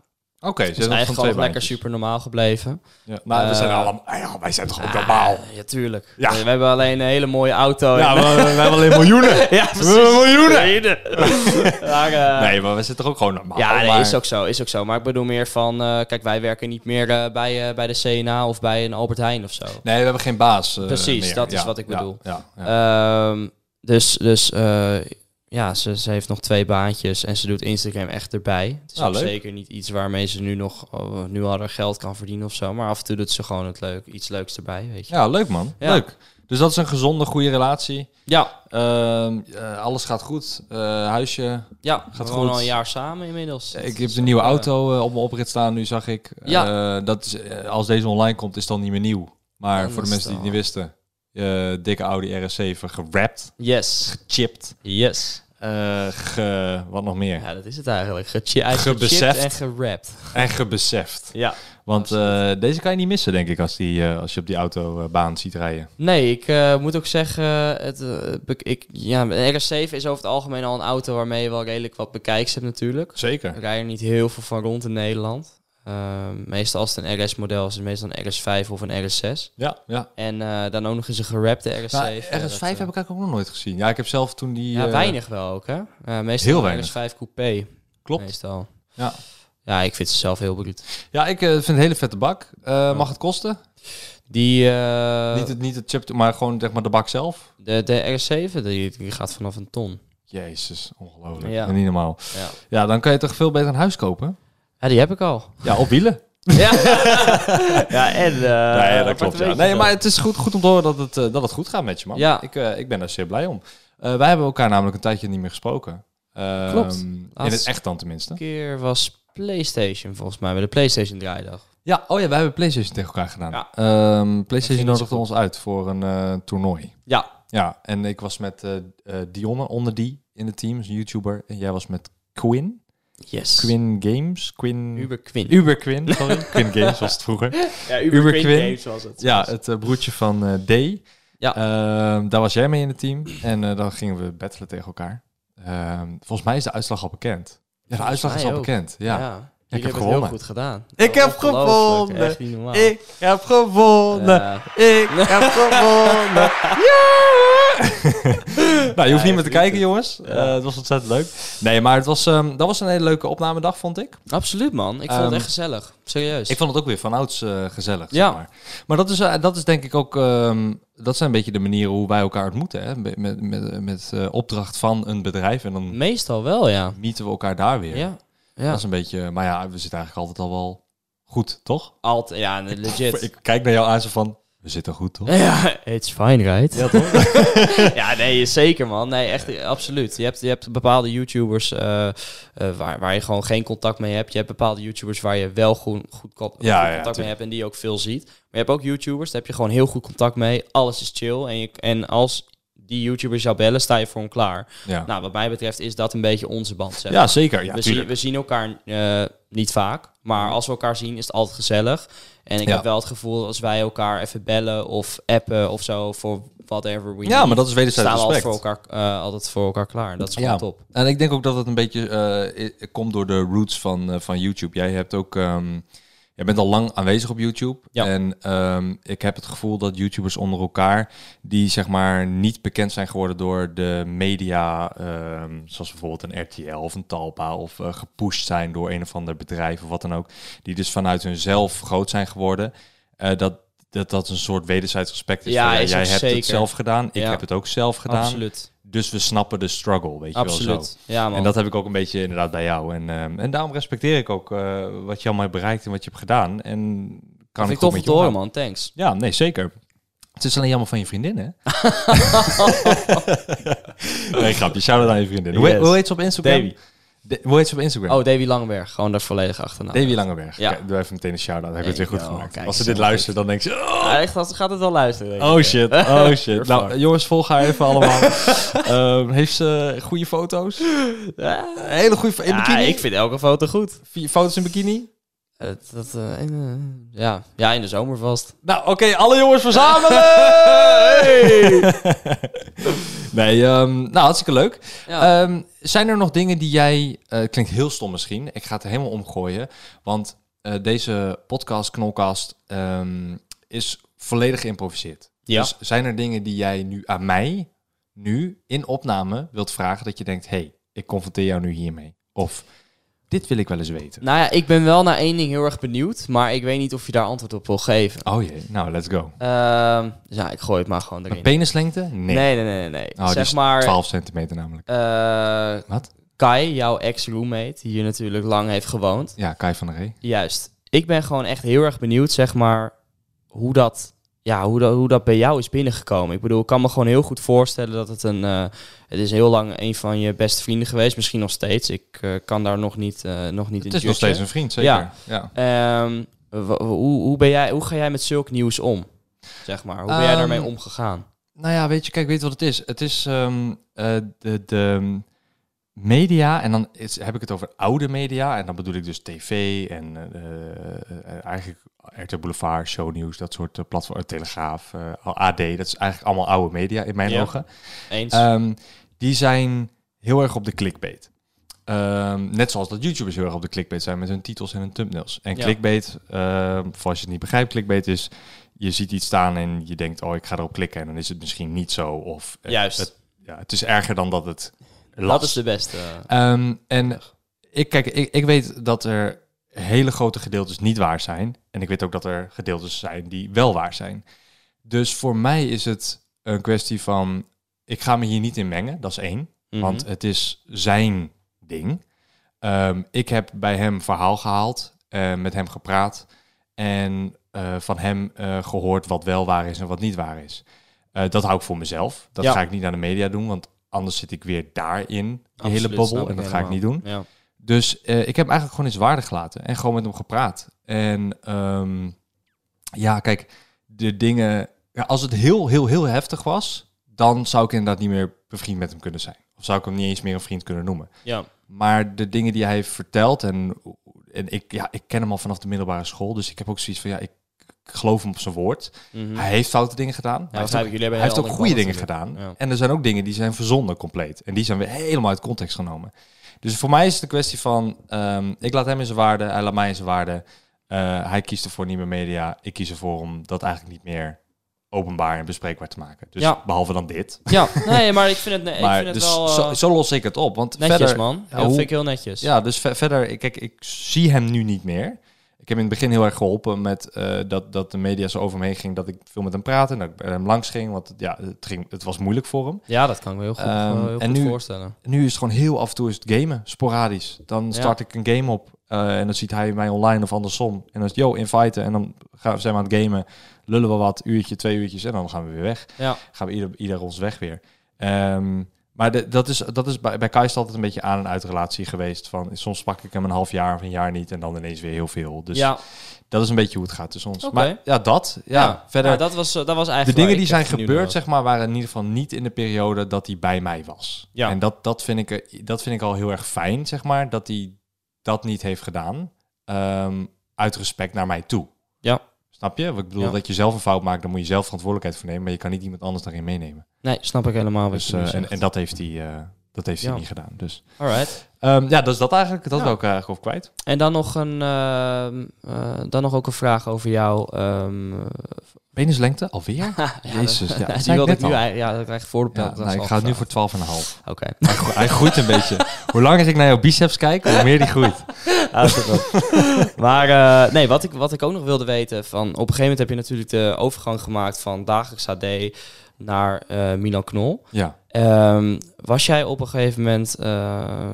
Speaker 1: Oké, ze
Speaker 2: Dus
Speaker 1: is
Speaker 2: eigenlijk gewoon lekker super normaal gebleven.
Speaker 1: Ja, maar we zijn
Speaker 2: Eh,
Speaker 1: allemaal, ah ja, wij zijn toch ook normaal?
Speaker 2: Ah, ja, tuurlijk.
Speaker 1: Ja.
Speaker 2: We, we hebben alleen een hele mooie auto.
Speaker 1: Ja,
Speaker 2: en-
Speaker 1: we, we hebben alleen miljoenen.
Speaker 2: ja
Speaker 1: We hebben miljoenen.
Speaker 2: maar, eh,
Speaker 1: Nee, maar we zijn toch ook gewoon normaal?
Speaker 2: ja, nee,
Speaker 1: maar-
Speaker 2: is ook zo, is ook zo. Maar ik bedoel meer van, eh, kijk, wij werken niet meer eh, bij, eh, bij de CNA of bij een Albert Heijn of zo.
Speaker 1: Nee, we hebben geen baas. eh,
Speaker 2: Precies,
Speaker 1: meer.
Speaker 2: dat is
Speaker 1: Ja,
Speaker 2: wat ik
Speaker 1: ja,
Speaker 2: bedoel.
Speaker 1: Ja, ja,
Speaker 2: Ehm, dus, dus eh, ja, ze, ze heeft nog twee baantjes en ze doet Instagram echt erbij. Het is
Speaker 1: Ah,
Speaker 2: ook
Speaker 1: leuk.
Speaker 2: zeker niet iets waarmee ze nu nog oh, nu al haar geld kan verdienen of zo. Maar af en toe doet ze gewoon het leuk, iets leuks erbij, weet je.
Speaker 1: Ja, leuk man.
Speaker 2: Ja.
Speaker 1: Leuk. Dus dat is een gezonde, goede relatie.
Speaker 2: Ja,
Speaker 1: Ehm, eh, alles gaat goed. Eh, huisje.
Speaker 2: ja.
Speaker 1: Gaat
Speaker 2: Gaat gewoon
Speaker 1: goed.
Speaker 2: al een jaar samen inmiddels.
Speaker 1: Ik heb een nieuwe auto eh, op mijn oprit staan, nu zag ik.
Speaker 2: Ja.
Speaker 1: Eh, dat is, eh, als deze online komt, is het dan niet meer nieuw. Maar
Speaker 2: Dan
Speaker 1: voor de
Speaker 2: is
Speaker 1: mensen die het
Speaker 2: het
Speaker 1: niet wisten, eh, dikke Audi RS7 gewrapt,
Speaker 2: Yes,
Speaker 1: chipped,
Speaker 2: yes.
Speaker 1: eh, ge, wat nog meer.
Speaker 2: Ja, dat is het eigenlijk. Gechi- hij is
Speaker 1: Gebeseft.
Speaker 2: Gebeseft. en gerapt.
Speaker 1: En gebeseft.
Speaker 2: Ja.
Speaker 1: Want eh, deze kan je niet missen, denk ik, als, die, eh, als je op die autobaan ziet rijden.
Speaker 2: Nee, ik eh, moet ook zeggen, het, eh, be- ik, ja, een RS7 is over het algemeen al een auto waarmee je wel redelijk wat bekijks hebt natuurlijk.
Speaker 1: Zeker.
Speaker 2: Er rijden er niet heel veel van rond in Nederland. Ehm, meestal als het een RS-model is, is het meestal een RS5 of een RS6.
Speaker 1: Ja, ja.
Speaker 2: En eh, dan ook nog eens een gerapte RS7.
Speaker 1: Nou, RS5
Speaker 2: Dat, eh,
Speaker 1: heb ik eigenlijk ook nog nooit gezien. Ja, ik heb zelf toen die...
Speaker 2: Ja,
Speaker 1: eh,
Speaker 2: weinig wel ook, hè? Eh, meestal
Speaker 1: heel
Speaker 2: een
Speaker 1: weinig.
Speaker 2: RS5 coupé.
Speaker 1: Klopt.
Speaker 2: Meestal.
Speaker 1: Ja.
Speaker 2: Ja, ik vind ze zelf heel bruut.
Speaker 1: Ja, ik eh, vind het een hele vette bak. Eh, Mag het kosten?
Speaker 2: Die, eh,
Speaker 1: niet, het, niet het chip, maar gewoon zeg maar de bak zelf.
Speaker 2: de, de RS7, die, die gaat vanaf een ton.
Speaker 1: Jezus, ongelooflijk.
Speaker 2: Ja.
Speaker 1: Niet normaal.
Speaker 2: Ja.
Speaker 1: Ja, dan kan je toch veel beter een huis kopen?
Speaker 2: Ja, die heb ik al.
Speaker 1: Ja, op wielen.
Speaker 2: ja. ja, en... eh, appartementje
Speaker 1: Nee,
Speaker 2: dan.
Speaker 1: maar het is goed, goed om te horen dat het, eh, dat het goed gaat met je, man.
Speaker 2: Ja.
Speaker 1: Ik, eh, ik ben daar zeer blij om. Eh, wij hebben elkaar namelijk een tijdje niet meer gesproken. Ehm,
Speaker 2: Klopt.
Speaker 1: In het
Speaker 2: Laatst-
Speaker 1: echt dan tenminste.
Speaker 2: Een keer was PlayStation volgens mij, bij de PlayStation draaidag.
Speaker 1: Ja, oh ja, wij hebben PlayStation tegen elkaar gedaan.
Speaker 2: Ja.
Speaker 1: Ehm,
Speaker 2: ging
Speaker 1: PlayStation
Speaker 2: niet
Speaker 1: nodigde
Speaker 2: zo goed.
Speaker 1: ons uit voor een eh, toernooi.
Speaker 2: Ja.
Speaker 1: Ja, en ik was met eh eh, Dionne, onder die, in het team, is een YouTuber. En jij was met Quinn.
Speaker 2: Yes.
Speaker 1: Quinn Games. Quinn...
Speaker 2: Uber Quinn.
Speaker 1: Uber Quinn, sorry. Quinn Games was het vroeger.
Speaker 2: ja,
Speaker 1: Uber Quinn Quinn. Games
Speaker 2: was het.
Speaker 1: Ja, het eh, broertje van eh, D.
Speaker 2: Ja.
Speaker 1: Ehm, daar was jij mee in het team. En eh, dan gingen we battelen tegen elkaar. Ehm, volgens mij is de uitslag al bekend. Ja, de uitslag is
Speaker 2: mij
Speaker 1: al
Speaker 2: ook.
Speaker 1: bekend. Ja.
Speaker 2: Jullie
Speaker 1: heb
Speaker 2: hebben
Speaker 1: gewonnen.
Speaker 2: het heel goed gedaan. Oh,
Speaker 1: Ik heb
Speaker 2: Ongelooflijk,
Speaker 1: gewonnen.
Speaker 2: Echt niet normaal.
Speaker 1: heb gewonnen.
Speaker 2: Ja.
Speaker 1: Ik heb gewonnen. nou, je hoeft niet meer te kijken, jongens. Eh, het was ontzettend leuk. Nee, maar het was, ehm, dat was een hele leuke opnamedag, vond ik.
Speaker 2: Absoluut, man. Ik vond
Speaker 1: Ehm,
Speaker 2: het echt gezellig. Serieus.
Speaker 1: Ik vond het ook weer van ouds eh, gezellig.
Speaker 2: Ja.
Speaker 1: Zeg maar. maar dat is, eh, dat is denk ik ook. ehm, dat zijn een beetje de manieren hoe wij elkaar ontmoeten. Hè? Met, met, met, met eh, opdracht van een bedrijf. En dan
Speaker 2: Meestal wel, ja.
Speaker 1: mieten we elkaar daar weer.
Speaker 2: Ja. ja.
Speaker 1: Dat is een beetje. Maar ja, we zitten eigenlijk altijd al wel goed, toch?
Speaker 2: Altijd, ja, legit.
Speaker 1: Ik kijk naar jou aan zo van. We zitten goed, toch?
Speaker 2: Ja, it's fine, right?
Speaker 1: Ja, toch?
Speaker 2: Ja, nee, zeker man. Nee, echt, eh, absoluut. Je hebt, je hebt bepaalde YouTubers eh, eh, waar, waar je gewoon geen contact mee hebt. Je hebt bepaalde YouTubers waar je wel goed, goed, co- goed
Speaker 1: Ja, ja,
Speaker 2: contact mee
Speaker 1: tuurlijk.
Speaker 2: hebt en die je ook veel ziet. Maar je hebt ook YouTubers, daar heb je gewoon heel goed contact mee. Alles is chill. En, je, en als die YouTubers jou bellen, sta je voor hem klaar.
Speaker 1: ja. Dus
Speaker 2: Nou, wat mij betreft is dat een beetje onze band. zeg
Speaker 1: ja, zeker. Ja,
Speaker 2: we,
Speaker 1: tuurlijk. Mhm.
Speaker 2: zien, we zien elkaar eh, niet vaak, maar als we elkaar zien is het altijd gezellig. En ik
Speaker 1: Ja.
Speaker 2: heb wel het gevoel dat als wij elkaar even bellen of appen of zo voor whatever we
Speaker 1: ja,
Speaker 2: need,
Speaker 1: maar dat is
Speaker 2: staan we
Speaker 1: wederzijds
Speaker 2: altijd
Speaker 1: respect.
Speaker 2: voor, elkaar, eh, altijd voor elkaar klaar. Dat is gewoon
Speaker 1: Ja.
Speaker 2: top.
Speaker 1: En ik denk ook dat het een beetje eh, i- komt door de roots van, eh, van YouTube. Jij hebt ook. ehm, jij bent al lang aanwezig op YouTube.
Speaker 2: Ja.
Speaker 1: En ehm, ik heb het gevoel dat YouTubers onder elkaar, die zeg maar niet bekend zijn geworden door de media, ehm, zoals bijvoorbeeld een RTL of een Talpa, of eh, gepusht zijn door een of ander bedrijf of wat dan ook, die dus vanuit hunzelf groot zijn geworden, eh, dat, dat dat een soort wederzijds respect is.
Speaker 2: Ja,
Speaker 1: Van,
Speaker 2: is
Speaker 1: jij
Speaker 2: ook
Speaker 1: hebt het
Speaker 2: zeker.
Speaker 1: zelf gedaan, ik
Speaker 2: Ja.
Speaker 1: heb het ook zelf gedaan.
Speaker 2: Absoluut.
Speaker 1: Dus we snappen de struggle, weet je wel zo.
Speaker 2: Absoluut. Ja, man.
Speaker 1: En dat heb ik ook een beetje inderdaad bij jou. En, ehm, en daarom respecteer ik ook eh, wat je allemaal hebt bereikt en wat je hebt gedaan. En kan
Speaker 2: vind
Speaker 1: ik goed
Speaker 2: ik tof om
Speaker 1: met
Speaker 2: te
Speaker 1: je
Speaker 2: horen,
Speaker 1: omgaan.
Speaker 2: man. Thanks.
Speaker 1: Ja, nee, zeker. Het is alleen jammer van je vriendin, hè? nee, grapje. Shout-out aan je vriendin. Hoe,
Speaker 2: Yes.
Speaker 1: hoe heet ze op Instagram?
Speaker 2: Davy.
Speaker 1: Da- hoe heet ze op Instagram?
Speaker 2: Oh, Davy Langenberg. Gewoon daar volledig achterna.
Speaker 1: Davy Langenberg.
Speaker 2: Ja.
Speaker 1: Kijk, doe even meteen een shout-out. Heb je het weer
Speaker 2: Hey,
Speaker 1: goed
Speaker 2: yo,
Speaker 1: gemaakt.
Speaker 2: kijk,
Speaker 1: Als ze
Speaker 2: zo
Speaker 1: dit
Speaker 2: goed.
Speaker 1: luisteren, dan denkt ze... "Oh,
Speaker 2: Ja, Ah, echt, ze gaat het wel luisteren. denk ik.
Speaker 1: Oh shit, oh shit. nou,
Speaker 2: fucked.
Speaker 1: jongens, volg haar even allemaal. Ehm, heeft ze goede foto's?
Speaker 2: Ja,
Speaker 1: Hele goede fo- Oh. in
Speaker 2: Ah. Ja,
Speaker 1: bikini?
Speaker 2: ik vind elke foto goed.
Speaker 1: Vier foto's in bikini?
Speaker 2: Eh, dat, eh, en, eh, ja. ja, in de zomer vast.
Speaker 1: Nou, oké, alle jongens verzamelen! nee, ehm, nou, hartstikke leuk.
Speaker 2: Ja.
Speaker 1: Ehm, zijn er nog dingen die jij... eh, het klinkt heel stom misschien. Ik ga het er helemaal omgooien. Want eh, deze podcast, Knolcast, ehm, is volledig geïmproviseerd.
Speaker 2: Ja.
Speaker 1: Dus zijn er dingen die jij nu aan mij, nu in opname, wilt vragen... dat je denkt, hey, ik confronteer jou nu hiermee. Of, dit wil ik wel eens weten.
Speaker 2: Nou ja, ik ben wel naar één ding heel erg benieuwd, maar ik weet niet of je daar antwoord op wil geven.
Speaker 1: Oh jee, nou, let's go.
Speaker 2: Ehm, dus ja, ik gooi het maar gewoon erin.
Speaker 1: Penislengte? Nee.
Speaker 2: Nee, nee, nee, nee. nee.
Speaker 1: Oh, die
Speaker 2: zeg
Speaker 1: is
Speaker 2: maar,
Speaker 1: 12 centimeter namelijk.
Speaker 2: eh,
Speaker 1: Wat?
Speaker 2: Kai, jouw ex-roommate, die hier natuurlijk lang heeft gewoond.
Speaker 1: Ja, Kai van der Ree.
Speaker 2: Juist. Ik ben gewoon echt heel erg benieuwd, zeg maar, hoe dat, ja, hoe dat, hoe dat bij jou is binnengekomen. Ik bedoel, ik kan me gewoon heel goed voorstellen dat het een... eh, het is heel lang een van je beste vrienden geweest, misschien nog steeds. Ik eh, kan daar nog niet, eh, nog niet in
Speaker 1: Het is nog
Speaker 2: judgen.
Speaker 1: steeds een vriend, zeker. Ja.
Speaker 2: Ja. Ehm, wa- hoe, hoe, ben jij, hoe ga jij met zulk nieuws om? Zeg maar, hoe ben jij
Speaker 1: Ehm,
Speaker 2: daarmee omgegaan?
Speaker 1: Nou ja, weet je, kijk, weet je wat het is? Het is ehm, eh, de, de media, en dan is, heb ik het over oude media. En dan bedoel ik dus tv en eh, eh, eigenlijk RT Boulevard, Shownieuws, dat soort eh, platformen. Telegraaf, eh, AD, dat is eigenlijk allemaal oude media in mijn
Speaker 2: Ja.
Speaker 1: ogen.
Speaker 2: Eens?
Speaker 1: Ehm, die zijn heel erg op de clickbait. Ehm, net zoals dat YouTubers heel erg op de clickbait zijn met hun titels en hun thumbnails. En
Speaker 2: Ja.
Speaker 1: clickbait, ehm, voor als je het niet begrijpt, clickbait is... je ziet iets staan en je denkt, oh, ik ga erop klikken... en dan is het misschien niet zo. Of, eh,
Speaker 2: Juist.
Speaker 1: Het, ja, het is erger dan dat het
Speaker 2: dat
Speaker 1: last.
Speaker 2: is de beste.
Speaker 1: Ehm, en ik, kijk, ik, ik weet dat er hele grote gedeeltes niet waar zijn. En ik weet ook dat er gedeeltes zijn die wel waar zijn. Dus voor mij is het een kwestie van... ik ga me hier niet in mengen, dat is één.
Speaker 2: Mhm.
Speaker 1: Want het is zijn ding. Ehm, ik heb bij hem verhaal gehaald, eh, met hem gepraat en eh, van hem eh, gehoord wat wel waar is en wat niet waar is. Eh, dat hou ik voor mezelf. Dat
Speaker 2: Ja.
Speaker 1: ga ik niet aan de media doen, want anders zit ik weer daarin, die
Speaker 2: Absoluut,
Speaker 1: hele bubbel.
Speaker 2: snap
Speaker 1: En
Speaker 2: ik
Speaker 1: dat ga ik niet
Speaker 2: helemaal.
Speaker 1: doen.
Speaker 2: Ja.
Speaker 1: Dus eh, ik heb hem eigenlijk gewoon in zijn waarde gelaten en gewoon met hem gepraat. En ehm, ja, kijk, de dingen. Ja, als het heel, heel, heel heftig was, dan zou ik inderdaad niet meer bevriend met hem kunnen zijn. Of zou ik hem niet eens meer een vriend kunnen noemen.
Speaker 2: Ja.
Speaker 1: Maar de dingen die hij heeft verteld, en, en ik, ja, ik ken hem al vanaf de middelbare school, dus ik heb ook zoiets van, ja, ik, ik geloof hem op zijn woord.
Speaker 2: Mhm.
Speaker 1: Hij heeft foute dingen gedaan. maar hij heeft
Speaker 2: begrijp
Speaker 1: ook-
Speaker 2: ik. Jullie hebben
Speaker 1: hij heeft
Speaker 2: heel
Speaker 1: ook
Speaker 2: andere
Speaker 1: goede dingen
Speaker 2: banden
Speaker 1: gedaan.
Speaker 2: natuurlijk.
Speaker 1: En er zijn ook dingen die zijn verzonnen compleet. En die zijn weer helemaal uit context genomen. Dus voor mij is het een kwestie van... ehm, ik laat hem in zijn waarde, hij laat mij in zijn waarde. Eh, hij kiest ervoor nieuwe media. Ik kies ervoor om dat eigenlijk niet meer openbaar en bespreekbaar te maken. Dus
Speaker 2: Ja.
Speaker 1: behalve dan dit.
Speaker 2: Ja, nee, maar ik vind het, nee, ik
Speaker 1: maar
Speaker 2: vind het
Speaker 1: dus
Speaker 2: wel eh,
Speaker 1: zo, zo los ik het op. Want
Speaker 2: netjes,
Speaker 1: verder,
Speaker 2: man.
Speaker 1: ja,
Speaker 2: dat
Speaker 1: hoe-
Speaker 2: vind ik heel netjes.
Speaker 1: ja, dus ve- verder, ik- kijk, ik zie hem nu niet meer. Ik heb in het begin heel erg geholpen met eh, dat, dat de media zo over me heen ging, dat ik veel met hem praatte en dat ik bij hem langs ging, want ja, het, ging, het was moeilijk voor hem.
Speaker 2: Ja, dat kan ik me heel goed, eh,
Speaker 1: Ehm,
Speaker 2: heel
Speaker 1: en
Speaker 2: goed
Speaker 1: nu-
Speaker 2: voorstellen.
Speaker 1: Nu is het gewoon heel af en toe is het gamen, sporadisch. Dan
Speaker 2: Ja.
Speaker 1: start ik een game op eh, en dan ziet hij mij online of andersom. En dan is het, yo, inviten en dan gaan, zijn we aan het gamen, lullen we wat, uurtje, twee uurtjes en dan gaan we weer weg.
Speaker 2: Ja.
Speaker 1: Gaan we ieder, ieder ons weg weer. Ehm, maar de- dat is, dat is bij, bij Kai is het altijd een beetje aan- en uitrelatie geweest. Van, soms sprak ik hem een half jaar of een jaar niet en dan ineens weer heel veel. Dus
Speaker 2: ja,
Speaker 1: dat is een beetje hoe het gaat tussen ons.
Speaker 2: Oké.
Speaker 1: Maar ja, dat. Ja, verder.
Speaker 2: ja, dat, was, eh, dat was eigenlijk
Speaker 1: de
Speaker 2: waar
Speaker 1: dingen
Speaker 2: ik
Speaker 1: die zijn
Speaker 2: even nu
Speaker 1: gebeurd,
Speaker 2: nog-
Speaker 1: zeg maar, waren in ieder geval niet in de periode dat hij bij mij was.
Speaker 2: Ja.
Speaker 1: En dat, dat, vind ik, er- dat vind ik al heel erg fijn, zeg maar, dat hij dat niet heeft gedaan. ehm, uit respect naar mij toe.
Speaker 2: Ja.
Speaker 1: Snap je? Want Ik bedoel,
Speaker 2: Ja.
Speaker 1: dat je zelf een fout maakt, dan moet je zelf verantwoordelijkheid voor nemen. Maar je kan niet iemand anders daarin meenemen.
Speaker 2: Nee, snap ik helemaal wat
Speaker 1: Dus,
Speaker 2: je nu
Speaker 1: eh, en,
Speaker 2: zegt.
Speaker 1: en dat heeft hij, eh, dat heeft hij
Speaker 2: Ja.
Speaker 1: niet gedaan. Dus
Speaker 2: Alright.
Speaker 1: ehm, ja, dat is dat eigenlijk. Dat
Speaker 2: Ja.
Speaker 1: wil ik eigenlijk op kwijt.
Speaker 2: En dan nog, een, ehm, eh, dan nog ook een vraag over jou. ehm,
Speaker 1: Penislengte, alweer?
Speaker 2: ja,
Speaker 1: Jezus, ja,
Speaker 2: dat-
Speaker 1: dat zei
Speaker 2: die
Speaker 1: ik
Speaker 2: wilde
Speaker 1: net
Speaker 2: ik nu
Speaker 1: al.
Speaker 2: eigenlijk- Ja, dat krijg ik voor de
Speaker 1: Ja,
Speaker 2: podcast
Speaker 1: nou, ik
Speaker 2: al
Speaker 1: ga het nu voor
Speaker 2: gevraagd.
Speaker 1: 12,5.
Speaker 2: Oké.
Speaker 1: Hij, gro- hij groeit een beetje. Hoe langer ik naar jouw biceps kijk, hoe meer die groeit.
Speaker 2: Ah, is dat wel. maar eh, nee, wat ik, wat ik ook nog wilde weten, van op een gegeven moment heb je natuurlijk de overgang gemaakt van dagelijks AD naar eh, Milan Knol.
Speaker 1: Ja.
Speaker 2: Ehm, was jij op een gegeven moment, eh,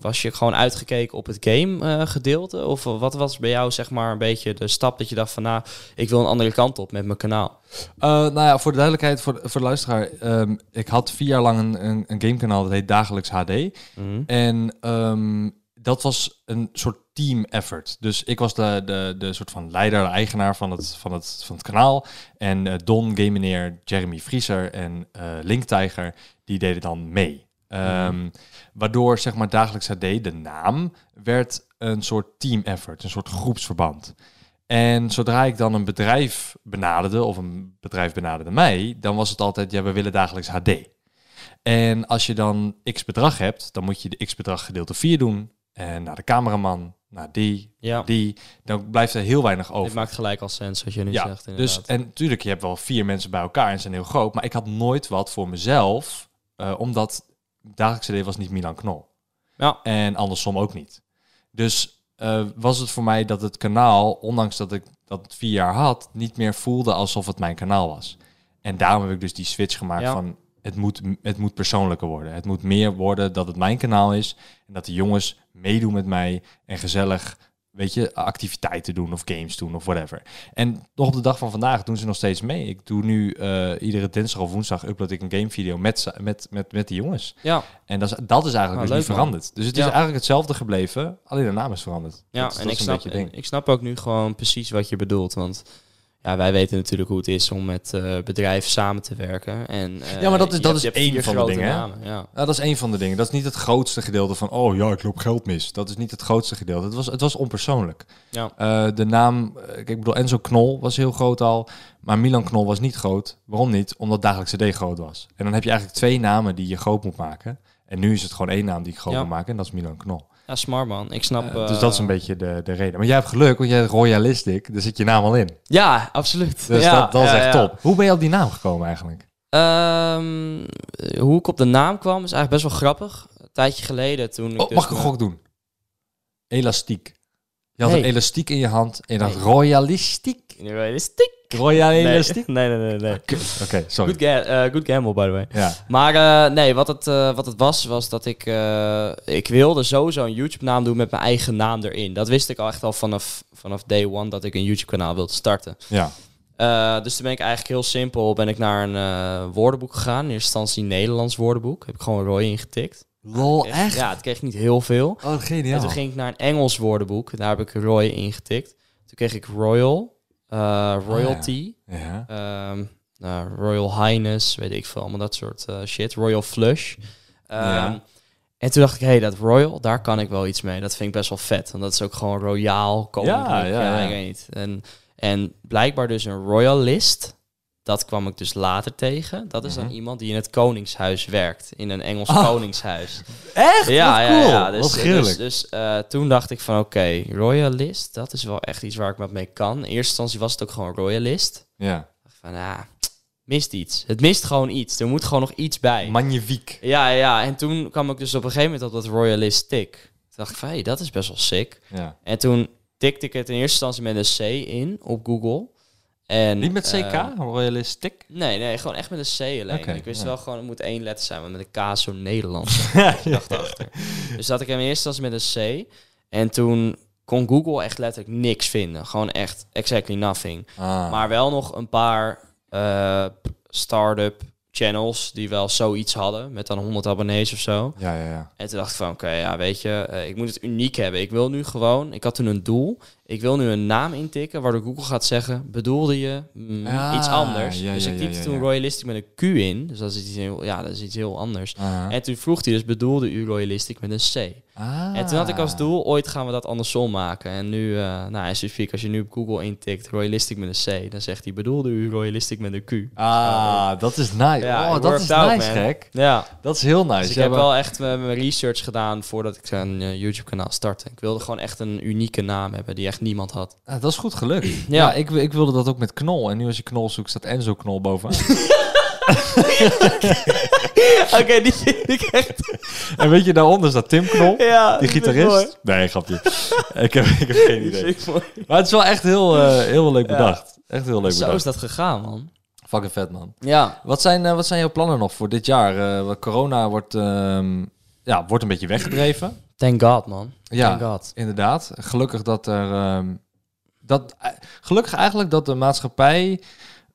Speaker 2: was je gewoon uitgekeken op het game eh, gedeelte? Of wat was bij jou zeg maar een beetje de stap dat je dacht van nou, ik wil een andere kant op met mijn kanaal?
Speaker 1: Eh, nou ja, voor de duidelijkheid, voor de, voor de luisteraar. ehm, ik had vier jaar lang een, een, een gamekanaal, dat heet Dagelijks HD.
Speaker 2: Mhm.
Speaker 1: En ehm, dat was een soort team effort. Dus ik was de, de, de soort van leider, de eigenaar van het, van het, van het kanaal. En eh, Don, Game Meneer, Jeremy Vriezer en eh Link Tiger, die deden dan mee. Ehm, Waardoor, zeg maar, Dagelijks HD, de naam, werd een soort team effort, een soort groepsverband. En zodra ik dan een bedrijf benaderde, of een bedrijf benaderde mij, dan was het altijd, ja, we willen Dagelijks HD. En als je dan x bedrag hebt, dan moet je de x bedrag gedeeld door 4 doen. En naar de cameraman, naar die,
Speaker 2: Ja,
Speaker 1: die. Dan blijft er heel weinig
Speaker 2: dit
Speaker 1: over.
Speaker 2: maakt gelijk al sens wat je nu
Speaker 1: Ja,
Speaker 2: zegt inderdaad.
Speaker 1: Dus, en natuurlijk, je hebt wel vier mensen bij elkaar en ze zijn heel groot. Maar ik had nooit wat voor mezelf, eh, omdat dagelijkse CD was niet Milan Knol.
Speaker 2: Ja.
Speaker 1: En andersom ook niet. Dus eh, was het voor mij dat het kanaal, ondanks dat ik dat vier jaar had, niet meer voelde alsof het mijn kanaal was. En daarom heb ik dus die switch gemaakt
Speaker 2: Ja.
Speaker 1: van het moet, het moet persoonlijker worden. Het moet meer worden dat het mijn kanaal is en dat de jongens meedoen met mij en gezellig, weet je, activiteiten doen of games doen of whatever. En nog op de dag van vandaag doen ze nog steeds mee. Ik doe nu eh, iedere dinsdag of woensdag upload ik een gamevideo met, ze- met, met, met de jongens.
Speaker 2: ja,
Speaker 1: En dat is, dat is eigenlijk
Speaker 2: Ah,
Speaker 1: dus
Speaker 2: leuk,
Speaker 1: niet
Speaker 2: man.
Speaker 1: veranderd. Dus het is
Speaker 2: Ja.
Speaker 1: eigenlijk hetzelfde gebleven, alleen de naam is veranderd.
Speaker 2: Ja,
Speaker 1: dat, is-
Speaker 2: en
Speaker 1: dat
Speaker 2: ik,
Speaker 1: is
Speaker 2: snap,
Speaker 1: een beetje het ding.
Speaker 2: ik snap ook nu gewoon precies wat je bedoelt. Want ja, wij weten natuurlijk hoe het is om met eh, bedrijven samen te werken. En, eh,
Speaker 1: Ja, maar dat is-
Speaker 2: je
Speaker 1: dat
Speaker 2: hebt-
Speaker 1: is
Speaker 2: je hebt
Speaker 1: één
Speaker 2: vier
Speaker 1: van de
Speaker 2: grote
Speaker 1: dingen, hè?
Speaker 2: namen, Ja.
Speaker 1: Nou, dat is een van de dingen. Dat is niet het grootste gedeelte van, oh ja, ik loop geld mis. Dat is niet het grootste gedeelte. Het was, het was onpersoonlijk.
Speaker 2: Ja.
Speaker 1: Eh, de naam, eh, ik bedoel, Enzo Knol was heel groot al, maar Milan Knol was niet groot. Waarom niet? Omdat Dagelijkse D groot was. En dan heb je eigenlijk twee namen die je groot moet maken. En nu is het gewoon één naam die ik groot
Speaker 2: Ja.
Speaker 1: moet maken en dat is Milan Knol.
Speaker 2: ja, smart man. Ik snap...
Speaker 1: Eh,
Speaker 2: eh,
Speaker 1: dus dat is een beetje de, de reden. Maar jij hebt geluk, want jij bent royalistic, daar zit je naam al in.
Speaker 2: Ja, absoluut.
Speaker 1: Dus
Speaker 2: ja,
Speaker 1: dat, dat is
Speaker 2: ja,
Speaker 1: echt
Speaker 2: ja.
Speaker 1: top. Hoe ben je op die naam gekomen eigenlijk?
Speaker 2: Ehm, hoe ik op de naam kwam is eigenlijk best wel grappig. Een tijdje geleden toen ik...
Speaker 1: Oh,
Speaker 2: dus
Speaker 1: mag ik een
Speaker 2: mijn-
Speaker 1: gok doen? Elastiek. Je had een
Speaker 2: Nee.
Speaker 1: elastiek in je hand en dat
Speaker 2: Nee.
Speaker 1: royalistiek.
Speaker 2: Realistiek.
Speaker 1: Royalistiek?
Speaker 2: Nee, nee, nee. nee.
Speaker 1: Oké, sorry.
Speaker 2: Good, ga- eh, good gamble, by the way.
Speaker 1: Ja.
Speaker 2: Maar eh, nee, wat het, eh, wat het was, was dat ik... eh, ik wilde sowieso een YouTube-naam doen met mijn eigen naam erin. Dat wist ik al echt al vanaf, vanaf day one dat ik een YouTube-kanaal wilde starten.
Speaker 1: ja.
Speaker 2: Eh, dus toen ben ik eigenlijk heel simpel ben ik naar een eh, woordenboek gegaan. In eerste instantie een Nederlands woordenboek. Heb ik gewoon Roy ingetikt.
Speaker 1: Lol, Oh, echt?
Speaker 2: Ja, het kreeg niet heel veel.
Speaker 1: Oh,
Speaker 2: En
Speaker 1: geniaal.
Speaker 2: toen ging ik naar een Engels woordenboek. Daar heb ik Roy ingetikt. Toen kreeg ik Royal, eh, Royalty,
Speaker 1: Ah, Ja.
Speaker 2: ehm, nou, Royal Highness, weet ik veel. Allemaal dat soort eh, shit. Royal Flush. Ehm,
Speaker 1: Ja.
Speaker 2: En toen dacht ik, hé, hey, dat Royal, daar kan ik wel iets mee. Dat vind ik best wel vet. Want dat is ook gewoon royaal, koninklijk,
Speaker 1: Ja,
Speaker 2: ja,
Speaker 1: ja, ja.
Speaker 2: ik weet niet. En, en blijkbaar dus een royalist. Dat kwam ik dus later tegen. Dat is
Speaker 1: Mhm.
Speaker 2: dan iemand die in het koningshuis werkt. In een Engels
Speaker 1: Ah.
Speaker 2: koningshuis.
Speaker 1: Echt? Wat cool.
Speaker 2: Dus,
Speaker 1: Wat
Speaker 2: dus,
Speaker 1: gruwelijk.
Speaker 2: dus eh, toen dacht ik van, oké, royalist, dat is wel echt iets waar ik wat mee kan. In eerste instantie was het ook gewoon royalist.
Speaker 1: ja.
Speaker 2: Ik dacht Van, ah, mist iets. Het mist gewoon iets. Er moet gewoon nog iets bij.
Speaker 1: Magnifiek.
Speaker 2: ja, ja, en toen kwam ik dus op een gegeven moment op dat royalist tik. Toen dacht ik van, hé, dat is best wel sick.
Speaker 1: Ja.
Speaker 2: En toen tikte ik het in eerste instantie met een C in op Google. En,
Speaker 1: Niet met CK,
Speaker 2: eh,
Speaker 1: royalistic.
Speaker 2: nee, nee, gewoon echt met een C alleen.
Speaker 1: Oké,
Speaker 2: ik wist
Speaker 1: ja.
Speaker 2: wel gewoon, het moet één letter zijn, want met een K zo Nederlands.
Speaker 1: ja.
Speaker 2: Dus dat ik hem eerst als met een C. En toen kon Google echt letterlijk niks vinden. Gewoon echt exactly nothing.
Speaker 1: Ah.
Speaker 2: Maar wel nog een paar eh, start-up channels die wel zoiets hadden. Met dan 100 abonnees of zo.
Speaker 1: ja, ja, ja.
Speaker 2: En toen dacht ik van, oké, ja, weet je, eh, ik moet het uniek hebben. Ik wil nu gewoon, ik had toen een doel. Ik wil nu een naam intikken waardoor Google gaat zeggen, bedoelde je mm,
Speaker 1: Ah,
Speaker 2: iets anders?
Speaker 1: ja,
Speaker 2: dus
Speaker 1: ja,
Speaker 2: ik
Speaker 1: ja,
Speaker 2: typte
Speaker 1: ja,
Speaker 2: toen
Speaker 1: ja.
Speaker 2: Royalistic met een Q in. Dus dat is iets heel, ja, dat is iets heel anders.
Speaker 1: Ah.
Speaker 2: En toen vroeg hij dus, bedoelde u Royalistic met een C?
Speaker 1: Ah.
Speaker 2: En toen had ik als doel, ooit gaan we dat andersom maken. En nu, eh, nou, en specifiek als je nu op Google intikt, Royalistic met een C, dan zegt hij, bedoelde u Royalistic met een Q?
Speaker 1: Ah, dat is nice.
Speaker 2: Ja,
Speaker 1: oh,
Speaker 2: it
Speaker 1: dat is
Speaker 2: worked out,
Speaker 1: nice,
Speaker 2: man.
Speaker 1: gek.
Speaker 2: Ja,
Speaker 1: Dat is heel nice.
Speaker 2: dus ik
Speaker 1: Je
Speaker 2: heb
Speaker 1: hebt-
Speaker 2: wel echt eh, mijn research gedaan voordat ik een YouTube-kanaal startte. Ik wilde gewoon echt een unieke naam hebben die echt niemand had.
Speaker 1: Ah, dat is goed gelukt. Ja,
Speaker 2: Ja.
Speaker 1: ik, ik wilde dat ook met Knol. En nu als je Knol zoekt, staat Enzo Knol bovenaan.
Speaker 2: Oké, die vind ik echt...
Speaker 1: en weet je, daaronder staat Tim Knol,
Speaker 2: Ja,
Speaker 1: die gitarist. Nee, grapje. ik, heb, ik heb geen idee. Maar het is wel echt heel, eh, heel leuk
Speaker 2: Ja.
Speaker 1: bedacht. Echt heel leuk
Speaker 2: Zo is
Speaker 1: bedacht.
Speaker 2: dat gegaan, man.
Speaker 1: Fucking vet, man.
Speaker 2: Ja.
Speaker 1: Wat zijn, eh, wat zijn jouw plannen nog voor dit jaar? Eh, wat- corona wordt, ehm, ja, wordt een beetje weggedreven.
Speaker 2: Thank God, man.
Speaker 1: Ja,
Speaker 2: Thank God.
Speaker 1: inderdaad. Gelukkig dat er... ehm, dat, eh, gelukkig eigenlijk dat de maatschappij...